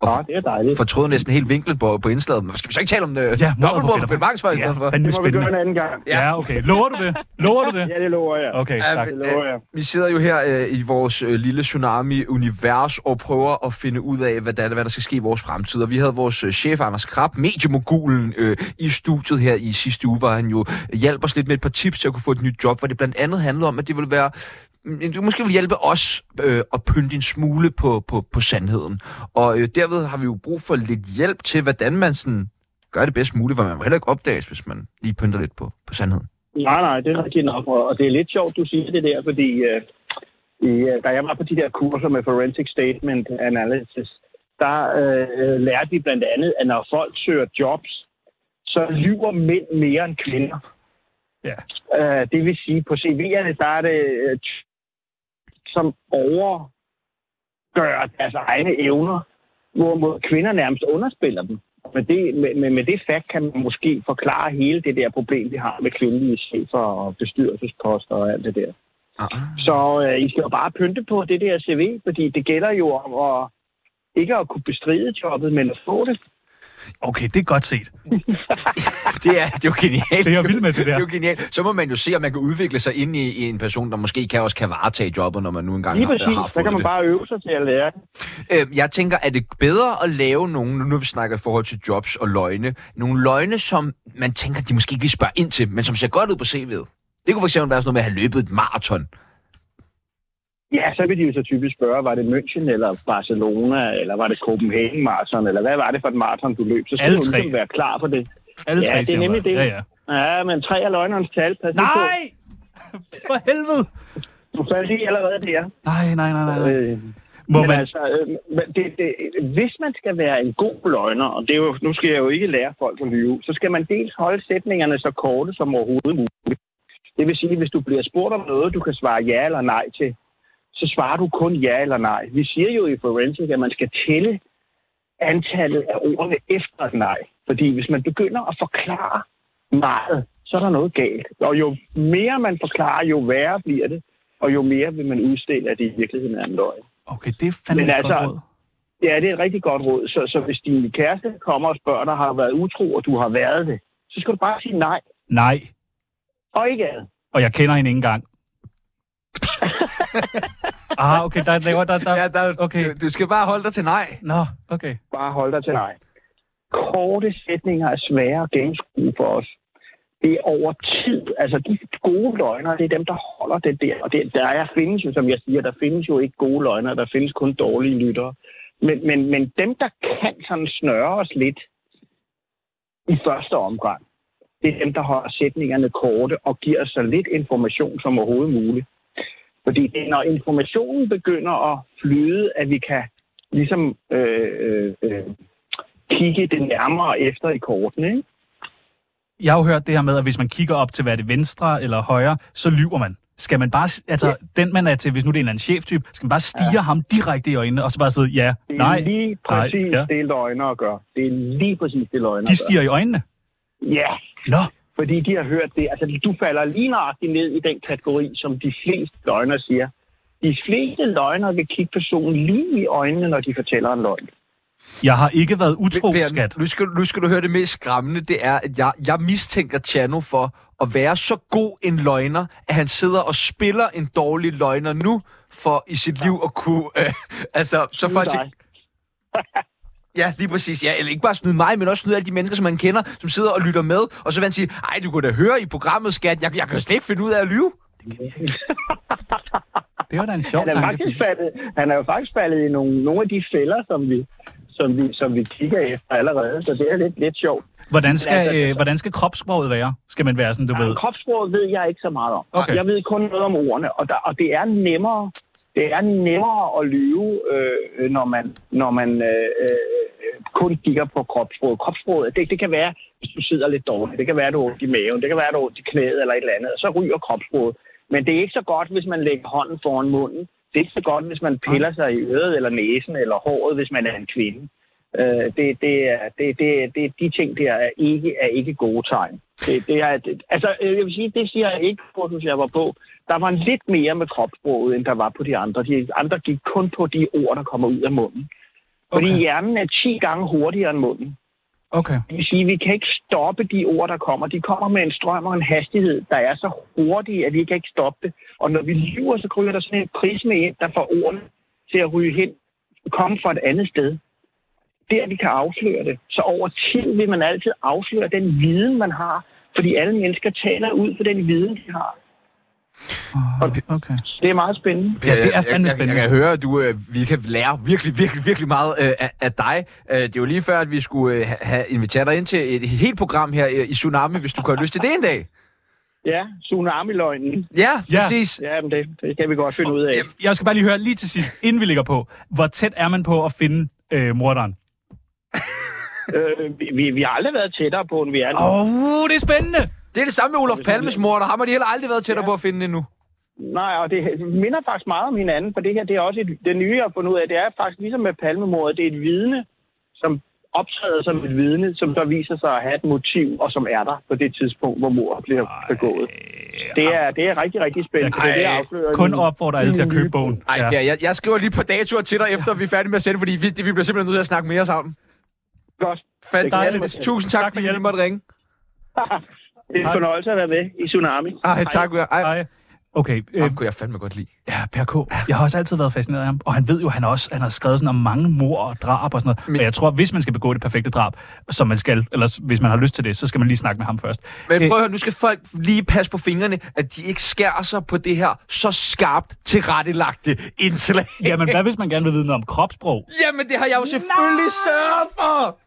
Speaker 4: Og
Speaker 10: Nå, Ah, det er dejligt.
Speaker 4: fortrød næsten helt vinklen på, på indslaget. Men skal vi så ikke tale om øh,
Speaker 7: Ja, mordet på
Speaker 4: dobbeltmord på
Speaker 7: Peter
Speaker 4: Peter Bangsvej i
Speaker 7: Ja,
Speaker 4: stedet for?
Speaker 7: fandme
Speaker 10: Det må vi gøre en
Speaker 7: spændende.
Speaker 10: anden gang.
Speaker 4: Ja.
Speaker 7: Ja, okay. Lover du det? Lover du det?
Speaker 10: Ja, det lover jeg.
Speaker 7: Okay,
Speaker 4: Ja,
Speaker 7: tak.
Speaker 10: Det
Speaker 4: men-
Speaker 10: lover jeg.
Speaker 4: Vi sidder jo her øh, i vores øh, lille tsunami-univers og prøver at finde ud af, hvad der, hvad der skal ske i vores fremtid. Og vi havde vores øh, chef, Anders Krab, mediemogulen, øh, i studiet her i sidste uge, hvor han jo hjalp os lidt med et par tips til at kunne få et nyt job, hvor det blandt andet handlede om, at det ville være mm, du måske vil hjælpe os øh, at pynte en smule på, på, på sandheden. Og øh, derved har vi jo brug for lidt hjælp til, hvordan man sådan gør det bedst muligt, for man må heller ikke opdages, hvis man lige pynter lidt på, på sandheden.
Speaker 10: Nej, nej, det er rigtigt nok. Og og det er lidt sjovt, du siger det der, fordi øh, i, øh, da jeg var på de der kurser med Forensic Statement Analysis, der øh, øh, lærte vi blandt andet, at når folk søger jobs, så lyver mænd mere end kvinder.
Speaker 7: Ja.
Speaker 10: Øh, det vil sige, på CV'erne, der er det, øh, t- som overgør deres egne evner, hvorimod kvinder nærmest underspiller dem. Men det, med, med, med det fakt kan man måske forklare hele det der problem, vi har med kvindelige chefer og bestyrelsesposter og alt det der.
Speaker 4: Ah.
Speaker 10: Så øh, I skal jo bare pynte på det der CV, fordi det gælder jo om at, ikke at kunne bestride jobbet, men at få det.
Speaker 7: Okay, det er godt set.
Speaker 4: det, er, det er jo genialt.
Speaker 7: Det er jeg vild med, det der.
Speaker 4: Det er jo genialt. Så må man jo se, om man kan udvikle sig ind i, i en person, der måske kan også kan varetage jobbet, når man nu engang
Speaker 10: Lige
Speaker 4: har, har
Speaker 10: præcis,
Speaker 4: fået
Speaker 10: så kan man
Speaker 4: det.
Speaker 10: bare øve sig til at lære det.
Speaker 4: Øh, jeg tænker, er det bedre at lave nogle, nu når vi snakker i forhold til jobs og løgne, nogle løgne, som man tænker, de måske ikke lige spørger ind til, men som ser godt ud på CV'et? Det kunne for eksempel være sådan noget med at have løbet et maraton.
Speaker 10: Ja, så vil de jo så typisk spørge, var det München eller Barcelona, eller var det Copenhagen Marathon, eller hvad var det for et maraton, du løb? Så skal
Speaker 7: Alle
Speaker 10: du
Speaker 7: tre.
Speaker 10: ligesom være klar på det.
Speaker 7: Alle
Speaker 10: ja,
Speaker 7: tre
Speaker 10: det er
Speaker 7: siger
Speaker 10: nemlig det.
Speaker 7: man. Ja,
Speaker 10: ja. ja men tre af løgnerens tal. Pas lige
Speaker 7: Nej! [laughs]
Speaker 10: på.
Speaker 7: For helvede!
Speaker 10: Du faldt lige allerede der.
Speaker 7: Nej, nej, nej, nej.
Speaker 10: Øh,
Speaker 7: Må
Speaker 10: men
Speaker 7: man-
Speaker 10: altså, øh, men det, det, hvis man skal være en god løgner, og det er jo, nu skal jeg jo ikke lære folk at lyve, så skal man dels holde sætningerne så korte som overhovedet muligt. Det vil sige, hvis du bliver spurgt om noget, du kan svare ja eller nej til, så svarer du kun ja eller nej. Vi siger jo i Forensic, at man skal tælle antallet af ordene efter et nej. Fordi hvis man begynder at forklare meget, så er der noget galt. Og jo mere man forklarer, jo værre bliver det, og jo mere vil man udstille, at det i virkeligheden er en løgn.
Speaker 7: Okay, det er fandme
Speaker 10: altså-
Speaker 7: et godt råd.
Speaker 10: Ja, det er et rigtig godt råd. Så, så hvis din kæreste kommer og spørger dig, har du været utro, og du har været det, så skal du bare sige nej,
Speaker 7: Nej,
Speaker 10: og ikke andet.
Speaker 7: og jeg kender hende ikke
Speaker 10: [laughs]
Speaker 7: engang. ah, okay, der laver der, der,
Speaker 4: ja, der
Speaker 7: okay.
Speaker 4: Øh, Du skal bare holde dig til nej.
Speaker 7: Nå, okay.
Speaker 10: Bare hold dig til nej. Korte sætninger er svære at gennemskue for os. Det er over tid. Altså, de gode løgner, det er dem, der holder det der. Og det, der er, findes jo, som jeg siger, der findes jo ikke gode løgner, der findes kun dårlige lyttere. Men, men, men dem, der kan sådan snøre os lidt i første omgang, det er dem, der holder sætningerne korte og giver os så lidt information som overhovedet muligt. Fordi det er, når informationen begynder at flyde, at vi kan ligesom øh, øh, øh, kigge det nærmere efter i kortene. Ikke?
Speaker 7: Jeg har jo hørt det her med, at hvis man kigger op til, hvad er det venstre eller højre, så lyver man. Skal man bare, altså ja. den man er til, hvis nu det er en eller anden cheftype, skal man bare stige ja. ham direkte i øjnene, og så bare sidde, ja,
Speaker 10: Det er
Speaker 7: nej,
Speaker 10: lige præcis
Speaker 7: nej, ja.
Speaker 10: det, løgner gør. Det er lige præcis det, løgner
Speaker 7: De stiger i øjnene.
Speaker 10: gør. Ja,
Speaker 7: Nå,
Speaker 10: fordi de har hørt det. Altså, du falder lige nøjagtigt ned i den kategori, som de fleste løgner siger. De fleste løgner vil kigge personen lige i øjnene, når de fortæller en løgn.
Speaker 7: jeg har ikke været utro,
Speaker 4: Per,
Speaker 7: skat.
Speaker 4: Nu skal, nu skal du høre det mest skræmmende, det er, at jeg, jeg mistænker Chano for at være så god en løgner, at han sidder og spiller en dårlig løgner nu, for i sit liv at kunne... [laughs] Øh, altså, så
Speaker 10: Snyde
Speaker 4: folk
Speaker 10: dig.
Speaker 4: tænker, [laughs] Ja, lige præcis. Ja, eller ikke bare snyde mig, men også snyde alle de mennesker, som man kender, som sidder og lytter med, og så vil han sige, ej, du kunne da høre i programmet, skat, jeg, jeg kan slet ikke finde ud af at lyve.
Speaker 7: Det var da en sjov
Speaker 10: Han er,
Speaker 7: tanke.
Speaker 10: faktisk faldet, han er jo faktisk faldet i nogle, nogle af de fælder, som vi, som, vi, som vi kigger efter allerede, så det er lidt, lidt sjovt.
Speaker 7: Hvordan
Speaker 10: Men
Speaker 7: skal,
Speaker 10: altså,
Speaker 7: øh, hvordan skal kropssproget være? Skal man være sådan, du ved?
Speaker 10: Ved. Kropsproget ved jeg ikke så meget om.
Speaker 7: Okay.
Speaker 10: Jeg ved kun noget om ordene, og, der, og det er nemmere det er nemmere at lyve, øh, når man, når man øh, øh, kun kigger på kropsproget. Kropsproget, det, det kan være, hvis du sidder lidt dårligt. Det kan være, at du har ondt i maven. Det kan være, at du har ondt i knæet eller et eller andet. Og så ryger kropsproget. Men det er ikke så godt, hvis man lægger hånden foran munden. Det er ikke så godt, hvis man piller sig i øret eller næsen eller håret, hvis man er en kvinde. Øh, det, det, er, det, det, det, de ting der er ikke, er ikke gode tegn. Det, det er, det, altså, øh, jeg vil sige, det siger jeg ikke, kursus jeg var på. Der var lidt mere med kropsproget, end der var på de andre. De andre gik kun på de ord, der kommer ud af munden. Fordi
Speaker 7: Okay.
Speaker 10: hjernen er 10 gange hurtigere end munden.
Speaker 7: Okay.
Speaker 10: Det vil sige, at vi kan ikke stoppe de ord, der kommer. De kommer med en strøm og en hastighed, der er så hurtig, at vi kan ikke stoppe det. Og når vi lyver, så kryger der sådan en prisme ind, der får ordene til at ryge hen, komme fra et andet sted. Der vi kan afsløre det. Så over tid vil man altid afsløre den viden, man har. Fordi alle mennesker taler ud for den viden, de har.
Speaker 7: Ah, okay.
Speaker 10: Det er meget spændende.
Speaker 7: Ja, det er
Speaker 4: jeg,
Speaker 7: fandme
Speaker 4: jeg, jeg,
Speaker 7: spændende.
Speaker 4: jeg kan høre, at du, øh, vi kan lære virkelig, virkelig, virkelig meget øh, af, af dig. Øh, det er jo lige før, at vi skulle øh, ha- have inviteret dig ind til et helt program her øh, i Tsunami, hvis du kunne have lyst til det en dag.
Speaker 10: Ja, tsunami-løgnen.
Speaker 4: Ja,
Speaker 7: Ja.
Speaker 4: præcis.
Speaker 10: Ja, men det, det kan vi godt finde ud af.
Speaker 7: Jeg skal bare lige høre lige til sidst, inden vi ligger på. Hvor tæt er man på at finde øh, morderen?
Speaker 10: Øh, vi- vi, vi har aldrig været tættere på, end vi er nu.
Speaker 7: Åh, oh, det er spændende!
Speaker 4: Det er det samme med Olof
Speaker 10: Hvis man
Speaker 4: Palmes mor, der har man de heller aldrig været tættere på at finde endnu.
Speaker 10: Nej, og det minder faktisk meget om hinanden, for det her det er også et, det nye, jeg har fundet ud af. Det er faktisk ligesom med palmemordet, det er et vidne, som optræder som et vidne, som så viser sig at have et motiv, og som er der på det tidspunkt, hvor mordet bliver begået. Det er, det er rigtig, rigtig spændende.
Speaker 7: Jeg
Speaker 10: det er det, jeg afslører
Speaker 7: Kun
Speaker 10: nu.
Speaker 7: opfordrer alle til at købe bogen.
Speaker 4: Ej, ja. jeg, jeg skriver lige på datoer til dig, efter vi er færdige med at sende, fordi vi, vi bliver simpelthen nødt til at snakke mere sammen.
Speaker 10: Godt.
Speaker 4: Fantastisk. Tusind tak, fordi I måtte ringe.
Speaker 10: Det er en fornøjelse at være med i Tsunami.
Speaker 4: Ej, tak. Hej.
Speaker 7: Hej. Okay. Øh,
Speaker 4: Ham kunne jeg fandme godt lide.
Speaker 7: Ja, Per K. Jeg har også altid været fascineret af ham, og han ved jo, han også han har skrevet sådan om mange mor og drab og sådan noget. Men, jeg tror, hvis man skal begå det perfekte drab, som man skal, eller hvis man har lyst til det, så skal man lige snakke med ham først.
Speaker 4: Men prøv at høre, nu skal folk lige passe på fingrene, at de ikke skærer sig på det her så skarpt tilrettelagte indslag.
Speaker 7: Øh, Jamen, hvad hvis man gerne vil vide noget om kropssprog?
Speaker 4: [laughs] Jamen, det har jeg jo selvfølgelig Nej! sørget for!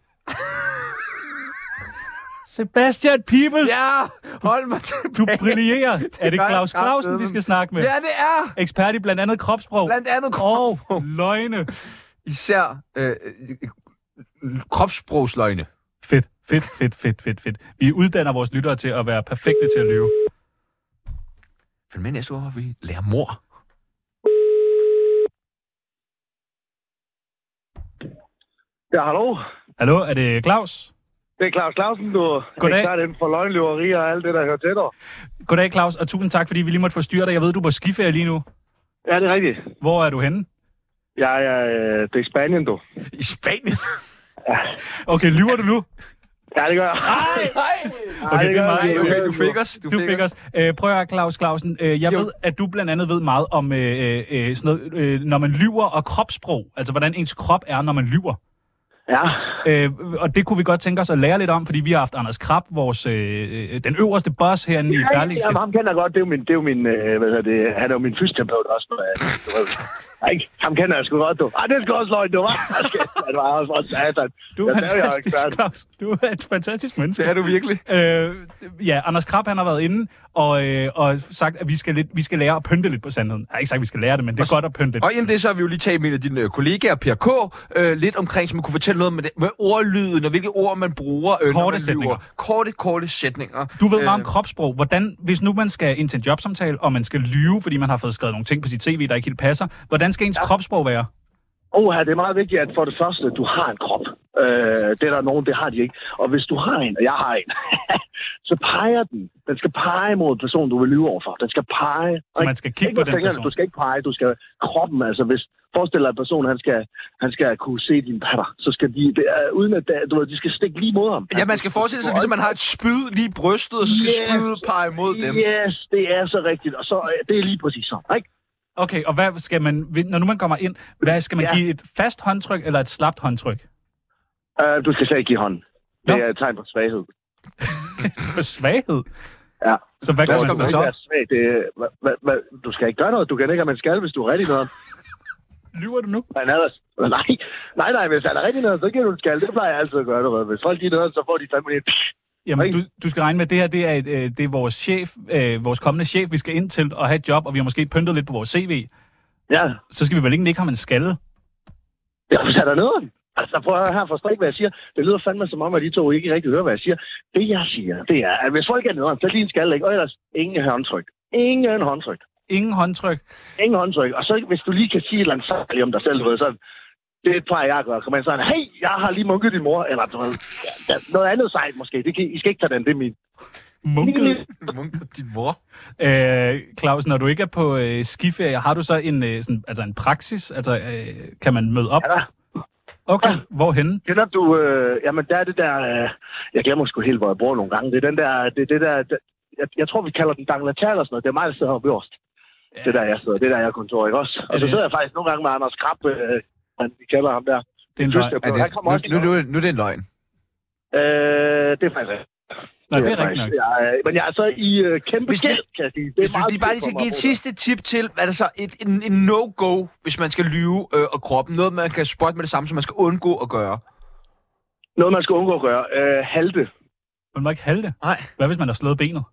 Speaker 7: Sebastian Peebles!
Speaker 4: Ja, hold mig tilbage.
Speaker 7: [laughs] Du
Speaker 4: [laughs]
Speaker 7: brillerer. Er det
Speaker 4: gør jeg
Speaker 7: Claus Clausen,
Speaker 4: kraftedeme.
Speaker 7: vi skal snakke med?
Speaker 4: Ja, det er
Speaker 7: Ekspert i blandt andet kropssprog.
Speaker 4: blandt andet
Speaker 7: Og løgne.
Speaker 4: især øh, øh, kropssprogsløgne.
Speaker 7: Fedt, fedt, fedt, fedt, fedt, fedt. Vi uddanner vores lyttere til at være perfekte til at lyve.
Speaker 4: Følg med næste uge, hvor vi lærer mor.
Speaker 10: Ja, hallo.
Speaker 7: Hallo, er det Claus?
Speaker 10: Det er Claus Clausen, du
Speaker 7: Goddag.
Speaker 10: er klart inden for løgnløveri og alt det, der hører til dig.
Speaker 7: Goddag, Claus, og tusind tak, fordi vi lige måtte forstyrre dig. Jeg ved, du er på skiferie lige nu.
Speaker 10: Ja, det er rigtigt.
Speaker 7: Hvor er du henne?
Speaker 10: Jeg er, øh, det er Spanien, du.
Speaker 4: I Spanien?
Speaker 7: Okay, lyver du nu?
Speaker 10: Ja, det gør jeg. [laughs]
Speaker 7: Okay, det er meget.
Speaker 10: jeg.
Speaker 4: [laughs] Okay, du fik os.
Speaker 7: Du fik os. Øh, prøv at høre, Claus Clausen. Øh, jeg
Speaker 4: Jo.
Speaker 7: ved, at du blandt andet ved meget om øh, øh, sådan noget, øh, når man lyver og kropssprog. Altså, hvordan ens krop er, når man lyver.
Speaker 10: Ja,
Speaker 7: Øh, og det kunne vi godt tænke os at lære lidt om, fordi vi har haft Anders Krab, vores, øh, øh, den øverste boss herinde i
Speaker 10: ja,
Speaker 7: Berlingske.
Speaker 10: ja, ham kender jeg godt. Det er jo min, det er jo min øh, hvad hedder det, han er jo min fysioterapeut også. Du ved. Ej, ikke? ham kender jeg sgu godt, du. Ej, det er sgu også løgn, du. Ej, okay. Det var også for satan.
Speaker 7: Du er
Speaker 10: Ja, der er jeg
Speaker 7: fantastisk,
Speaker 10: ekspert.
Speaker 7: Claus. Du er et fantastisk menneske.
Speaker 4: Det er du virkelig.
Speaker 7: Øh, ja, Anders Krab, han har været inde og, øh, og sagt, at vi skal, lidt, vi skal lære at pynte lidt på sandheden. Jeg har ikke sagt, at vi skal lære det, men det er godt at pynte lidt.
Speaker 4: Og inden det, så har vi jo lige talt med en af dine øh, kollegaer, Per K., øh, lidt omkring, som kunne fortælle noget med, det, med ordlyden, og hvilke ord man bruger, øh, når
Speaker 7: Korte
Speaker 4: man
Speaker 7: sætninger.
Speaker 4: lyver. Korte, korte sætninger. Øh,
Speaker 7: Du ved meget
Speaker 10: Øh.
Speaker 7: om kropssprog. Hvordan, hvis nu man skal ind til en jobsamtale, og man skal lyve, fordi man har fået skrevet nogle ting på sit tv, der ikke helt passer, hvordan skal ens ja. kropssprog være?
Speaker 10: Åh, det er meget vigtigt, at for det første, du har en krop. Øh, det er der nogen, det har de ikke. Og hvis du har en, og jeg har en, [laughs] så peger den. Den skal pege mod en person, du vil lyve overfor. Den skal pege.
Speaker 7: Så man skal kigge
Speaker 10: ikke
Speaker 7: på
Speaker 10: med
Speaker 7: den
Speaker 10: fingrene,
Speaker 7: person.
Speaker 10: Du skal ikke pege, du skal kroppen. Altså, hvis forestil dig, at en person, han skal, han skal kunne se dine patter, så skal de, det er, uden at du ved, de skal stikke lige mod ham.
Speaker 4: Ja, man skal forestille sig, ligesom man har et spyd lige i brystet, og så skal
Speaker 10: Yes.
Speaker 4: spydet pege mod dem.
Speaker 10: Yes, det er så rigtigt. Og så, øh, det er lige præcis sådan, ikke?
Speaker 7: Okay, og hvad skal man, når nu man kommer ind, hvad skal man ja.
Speaker 10: Ja.
Speaker 7: give et fast håndtryk eller et slapt håndtryk?
Speaker 10: Uh, du skal slet ikke give hånden. Det
Speaker 7: Nå.
Speaker 10: er et tegn på svaghed.
Speaker 7: For svaghed?
Speaker 10: Ja.
Speaker 7: Så hvad gør man
Speaker 10: Du
Speaker 7: så?
Speaker 10: skal ikke være svag. Det, er- hva, hva, hva, du skal ikke gøre noget. Du kan ikke, at man skal, hvis du er rigtig noget.
Speaker 7: Lyver du nu?
Speaker 10: Men ellers, nej, nej, nej, hvis han er rigtig noget, så giver du en skal. Det plejer jeg altid at gøre noget. Hvis folk de er noget, så får de fandme lidt...
Speaker 7: Jamen,
Speaker 10: Ikke?
Speaker 7: du, du skal regne med, at det her det er, et, øh, det er vores chef, øh, vores kommende chef, vi skal ind til og have et job, og vi har måske pyntet lidt på vores CV.
Speaker 10: [laughs] Ja,
Speaker 7: Så skal vi vel ikke nikke ham en skalle?
Speaker 10: jeg er der noget. Altså, prøv at høre her, forstå ikke, hvad jeg siger. Det lyder fandme som om, at de to ikke rigtig hører, hvad jeg siger. Det, jeg siger, det er, at hvis folk er nederen, så lige en skal, ikke? Og ellers ingen håndtryk. Ingen håndtryk.
Speaker 7: Ingen håndtryk.
Speaker 10: Ingen håndtryk. Og så hvis du lige kan sige et eller andet særligt om dig selv, du ved, så det plejer jeg at gøre. Kommer ind sådan, hey, jeg har lige munket din mor, eller du ved, ja, der- noget andet sejt måske. Det kan, I skal ikke tage den, det er min.
Speaker 7: Munket.
Speaker 4: Munket din mor.
Speaker 7: Øh, Claus, når du ikke er på øh, skiferie, har du så en, øh, sådan, altså en praksis? Altså, øh, kan man møde op?
Speaker 10: Ja, da.
Speaker 7: Okay, hvorhenne?
Speaker 10: Kender du, øh, jamen der er det der, øh, jeg glemmer sgu helt, hvor jeg bor nogle gange. Det er den der, det, er det der, det, jeg, jeg, tror, vi kalder den Danglatal eller sådan noget. Det er mig, der sidder oppe øverst. Ja. Det er der, jeg sidder, det er der, jeg er kontor, ikke også? Og
Speaker 7: Er
Speaker 10: så
Speaker 7: det-
Speaker 10: sidder jeg faktisk nogle gange med Anders Krab, øh, han- vi kalder ham der.
Speaker 7: Det er en løg.
Speaker 4: Er
Speaker 10: Fysioterapeut. Han
Speaker 4: det,
Speaker 10: kommer også
Speaker 4: nu, nu,
Speaker 10: lige
Speaker 4: nu, nu er det en løgn.
Speaker 10: Øh, det er faktisk rigtigt.
Speaker 7: Nå, det er
Speaker 10: faktisk-
Speaker 7: rigtigt nok.
Speaker 10: Jeg, er- men jeg er så i øh, kæmpe
Speaker 4: Hvis vi-
Speaker 10: gæld, kan jeg sige. Det er
Speaker 4: Hvis du
Speaker 10: meget
Speaker 4: lige bare
Speaker 10: fedt
Speaker 4: lige
Speaker 10: for
Speaker 4: skal
Speaker 10: mig
Speaker 4: give
Speaker 10: at
Speaker 4: et
Speaker 10: bo
Speaker 4: sidste tip til, hvad er det så et, en, en no-go, hvis man skal lyve øh, og kroppen? Noget, man kan spotte med det samme, som man skal undgå at gøre.
Speaker 10: der. Noget, man skal undgå at gøre. Øh, halte.
Speaker 7: Man må ikke halte.
Speaker 4: Nej.
Speaker 7: Hvad hvis man har slået benet?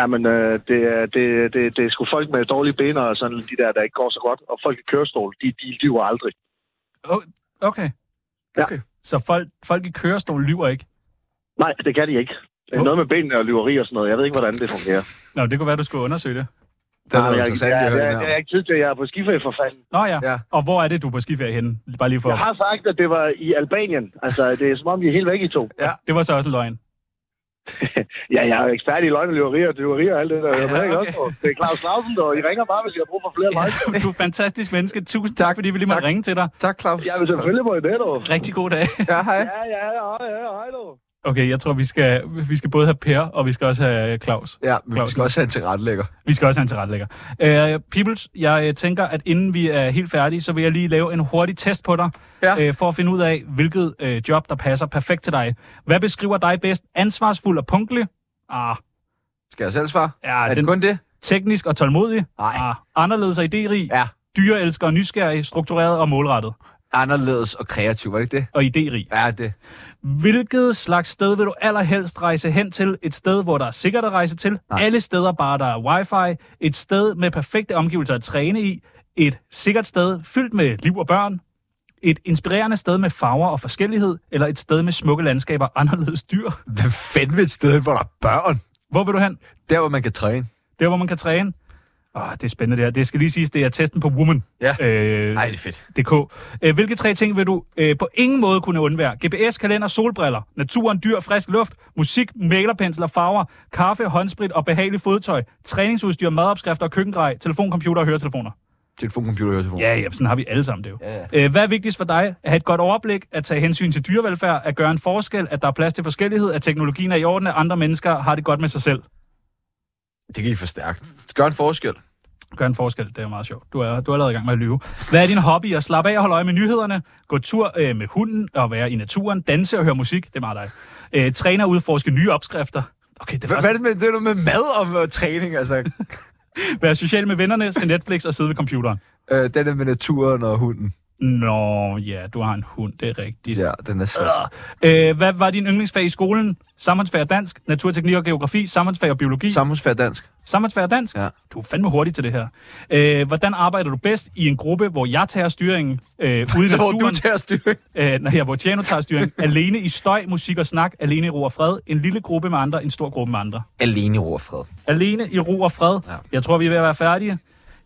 Speaker 10: Jamen, øh, det, er- det, det, det er sgu folk med dårlige ben og sådan de der, der ikke går så godt. Og folk i kørestol, de, de lyver aldrig.
Speaker 7: Oh, okay.
Speaker 10: Ja.
Speaker 4: Okay.
Speaker 7: Så folk, folk i kørestol lyver ikke?
Speaker 10: Nej, det kan de ikke. Det er
Speaker 7: Nå.
Speaker 10: noget med benene og lyveri og sådan noget. Jeg ved ikke, hvordan det fungerer.
Speaker 7: Nå, det kunne være, du skulle undersøge det.
Speaker 4: Det er
Speaker 10: Nej,
Speaker 4: noget
Speaker 10: jeg,
Speaker 4: interessant,
Speaker 10: jeg,
Speaker 4: at
Speaker 10: jeg,
Speaker 4: høre
Speaker 10: jeg,
Speaker 4: det
Speaker 10: jeg, jeg
Speaker 4: her.
Speaker 10: er ikke tid til, jeg er på skiferie for fanden.
Speaker 7: Nå ja.
Speaker 4: Ja.
Speaker 7: Og hvor er det, du er på skiferie henne? Bare lige for...
Speaker 10: Jeg har sagt, at det var i Albanien. Altså, det er som om, vi er helt væk i to.
Speaker 4: Ja.
Speaker 7: Det var så også en løgn.
Speaker 11: ja, jeg er jo ekspert i løgneløverier og tyverier og alt det der. Jeg okay. også, på. det er Claus Clausen, og I ringer bare, hvis jeg har brug for flere
Speaker 7: ja, Du er fantastisk menneske. Tusind tak, tak fordi vi lige måtte tak. ringe til dig.
Speaker 4: Tak, Claus.
Speaker 11: Jeg vil selvfølgelig på i det, dog.
Speaker 7: Rigtig god dag.
Speaker 4: Ja, hej.
Speaker 11: Ja, ja, hej, hej, hej, dog.
Speaker 7: Okay, jeg tror, vi skal, vi skal både have Per, og vi skal også have Claus.
Speaker 4: Ja, men Claus. vi skal også have en tilrettelægger.
Speaker 7: Vi skal også have en tilrettelægger. Uh, Peoples, jeg øh, tænker, at inden vi er helt færdige, så vil jeg lige lave en hurtig test på dig, ja. uh, for at finde ud af, hvilket uh, job, der passer perfekt til dig. Hvad beskriver dig bedst? Ansvarsfuld og punktlig? Ah.
Speaker 4: Skal jeg selv svare?
Speaker 7: Ja,
Speaker 4: er det den, kun det?
Speaker 7: Teknisk og tålmodig?
Speaker 4: Nej. Ah.
Speaker 7: Anderledes og idérig?
Speaker 4: Ja.
Speaker 7: Dyreelsker og nysgerrig, struktureret og målrettet?
Speaker 4: anderledes og kreativ, var det ikke det?
Speaker 7: Og idérig.
Speaker 4: Ja, det.
Speaker 7: Mm-hmm. Hvilket slags sted vil du allerhelst rejse hen til? Et sted, hvor der er sikkert at rejse til? Nej. Alle steder, bare der er wifi. Et sted med perfekte omgivelser at træne i. Et sikkert sted, fyldt med liv og børn. Et inspirerende sted med farver og forskellighed. Eller et sted med smukke landskaber og anderledes dyr.
Speaker 4: Hvad fanden et sted, hvor der er børn?
Speaker 7: Hvor vil du hen?
Speaker 4: Der, hvor man kan træne.
Speaker 7: Der, hvor man kan træne. Åh, oh, det er spændende det her. Det skal lige siges, det er testen på Woman.
Speaker 4: Ja. Øh, Ej, det er fedt.
Speaker 7: DK. Øh, hvilke tre ting vil du øh, på ingen måde kunne undvære? GPS, kalender, solbriller, naturen, dyr, frisk luft, musik, malerpensler, farver, kaffe, håndsprit og behageligt fodtøj, træningsudstyr, madopskrifter, køkkengrej, telefon, computer og høretelefoner.
Speaker 4: Telefon, computer, høretelefoner.
Speaker 7: Ja, ja, sådan har vi alle sammen det jo.
Speaker 4: Ja, ja.
Speaker 7: Øh, hvad er vigtigst for dig? At have et godt overblik, at tage hensyn til dyrevelfærd, at gøre en forskel, at der er plads til forskellighed, at teknologien er i orden, at andre mennesker har det godt med sig selv.
Speaker 4: Det gik for stærkt. Gør en forskel.
Speaker 7: Gør en forskel, det er meget sjovt. Du er, du er allerede i gang med at lyve. Hvad er din hobby? At slappe af og holde øje med nyhederne, gå tur øh, med hunden og være i naturen, danse og høre musik, det er meget dig. Øh, træne og udforske nye opskrifter.
Speaker 4: Okay, det er Hvad er det med, det er med mad og med træning, altså?
Speaker 7: være social med vennerne, se Netflix og sidde ved computeren.
Speaker 4: [laughs] Øh, den er med naturen og hunden.
Speaker 7: Nå, ja, du har en hund, det er rigtigt.
Speaker 4: Ja, den er så.
Speaker 7: Øh, hvad var din yndlingsfag i skolen? Samfundsfag og dansk, naturteknik og geografi, samfundsfag og biologi?
Speaker 4: Samfundsfag og dansk.
Speaker 7: Samfundsfag og dansk?
Speaker 4: Ja.
Speaker 7: Du er fandme hurtig til det her. Øh, hvordan arbejder du bedst i en gruppe, hvor jeg tager styringen øh, ude i
Speaker 4: Så [laughs] hvor
Speaker 7: naturen?
Speaker 4: du tager styring.
Speaker 7: Øh, nej, ja, hvor Tjano tager
Speaker 4: [laughs]
Speaker 7: styringen. alene i støj, musik og snak, alene i ro og fred. En lille gruppe med andre, en stor gruppe med andre.
Speaker 4: Alene i ro og fred.
Speaker 7: Alene i ro og fred.
Speaker 4: Ja.
Speaker 7: Jeg tror, vi er ved at være færdige.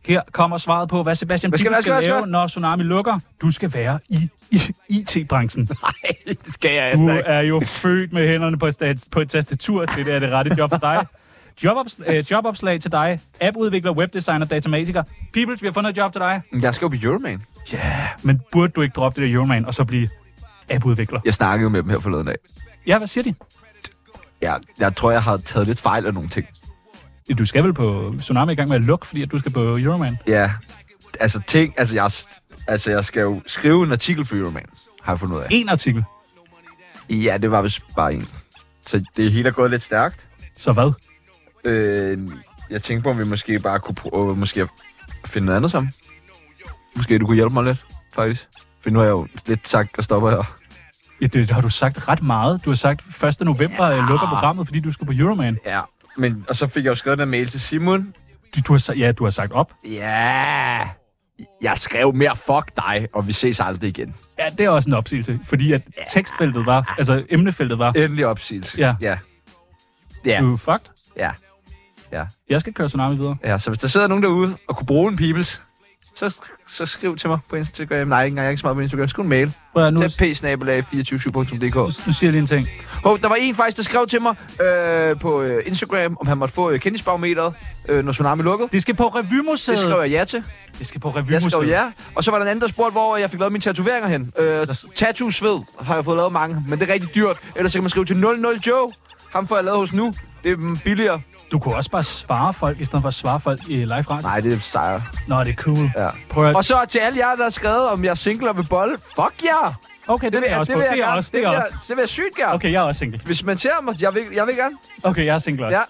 Speaker 7: Her kommer svaret på, hvad Sebastian
Speaker 4: Hvad skal-
Speaker 7: Pibel
Speaker 4: hvad
Speaker 7: skal,
Speaker 4: skal- hvad
Speaker 7: skal
Speaker 4: skal-
Speaker 7: lave, når Tsunami lukker. Du skal være i, i
Speaker 4: [laughs]
Speaker 7: IT-branchen.
Speaker 4: Nej, det skal jeg
Speaker 7: Du
Speaker 4: altså ikke.
Speaker 7: er jo født med hænderne på et, stat- på et tastatur. Det er det rette job for dig. Jobops, øh, jobopslag til dig. Appudvikler, webdesigner, datamatiker. People, vi har fundet et job til dig.
Speaker 4: Jeg skal jo på Euroman.
Speaker 7: Ja, yeah, men burde du ikke droppe det der Euroman og så blive appudvikler?
Speaker 4: Jeg snakkede jo med dem her forleden dag.
Speaker 7: Ja, hvad siger de?
Speaker 4: Jeg, jeg tror, jeg har taget lidt fejl af nogle ting.
Speaker 7: Du skal vel på Tsunami i gang med at lukke, fordi at du skal på Euroman.
Speaker 4: Ja, altså ting, altså jeg, altså jeg skal jo skrive en artikel for Euroman, har jeg fundet ud af.
Speaker 7: En artikel.
Speaker 4: Ja, det var vist bare en. Så det hele er gået lidt stærkt.
Speaker 7: Så hvad?
Speaker 4: Øh, jeg tænkte på, om vi måske bare kunne prøve, måske at finde noget andet sammen. Måske du kunne hjælpe mig lidt, faktisk. For nu har jeg jo lidt sagt, at stopper her.
Speaker 7: Ja, det har du sagt ret meget. Du har sagt 1. november ja. lukker programmet, fordi du skal på Euroman.
Speaker 4: Ja, men, og så fik jeg jo skrevet en mail til Simon.
Speaker 7: Du, du har, sa- ja, du har sagt op.
Speaker 4: Ja, jeg skrev mere fuck dig, og vi ses aldrig igen.
Speaker 7: Ja, det er også en opsigelse, fordi at tekstfeltet var, altså emnefeltet var,
Speaker 4: Endelig opsigelse.
Speaker 7: Ja.
Speaker 4: Ja. Ja,
Speaker 7: du er fucked.
Speaker 4: ja, ja.
Speaker 7: Jeg skal køre Tsunami videre.
Speaker 4: Ja, så hvis der sidder nogen derude og kunne bruge en peoples, så, så skriv til mig på Instagram. Nej, ikke engang, jeg er ikke så meget på Instagram. Skriv en mail.
Speaker 7: Prøv at, nu,
Speaker 4: Nu... psnabelag247.dk
Speaker 7: nu siger jeg lige en ting.
Speaker 4: Hov, der var en faktisk, der skrev til mig øh, på øh, Instagram, om han måtte få øh, kendisbarometeret, øh, når Tsunami lukkede.
Speaker 7: Det skal på
Speaker 4: Det
Speaker 7: Revymuseet.
Speaker 4: skrev jeg ja til.
Speaker 7: Det skal på
Speaker 4: Jeg skrev
Speaker 7: Revymuseet.
Speaker 4: ja. Og så var der en anden, der spurgte, hvor jeg fik lavet mine tatoveringer hen. Øh, Tattoo-sved har jeg fået lavet mange, men det er rigtig dyrt. Ellers så kan man skrive til 00 Joe. Ham får jeg lavet hos nu. Det er mm, billigere.
Speaker 7: Du kunne også bare spare folk, i stedet for at svare folk i live radio.
Speaker 4: Nej, det er sejere.
Speaker 7: Nå, det er cool.
Speaker 4: Ja.
Speaker 7: Prøv at,
Speaker 4: Og så til alle jer, der har skrevet, om jeg er single og vil bolle. Fuck jer! Yeah!
Speaker 7: okay, det, vil jeg også på. Det er
Speaker 4: gerne.
Speaker 7: også, det er
Speaker 4: vil jeg-
Speaker 7: også.
Speaker 4: Det vil jeg sygt gerne. Okay.
Speaker 7: Okay, jeg er også single.
Speaker 4: Hvis man ser mig, jeg vil, jeg vil gerne.
Speaker 7: Okay, jeg er single også.
Speaker 4: Ja,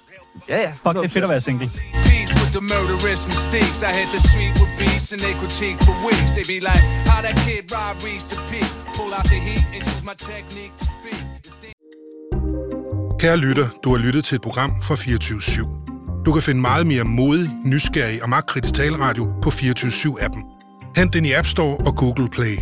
Speaker 4: ja. ja
Speaker 7: Fuck, det er fedt at være single.
Speaker 13: beats with the murderous mistakes. I hit the street with beats and they critique for weeks. They be like, how that kid Rob reached the peak. Pull out the heat and use my technique to speak.
Speaker 14: Kære lytter, du har lyttet til et program fra 24 /7. Du kan finde meget mere modig, nysgerrig og magtkritisk taleradio på 24 7 appen Hent den i App Store og Google Play.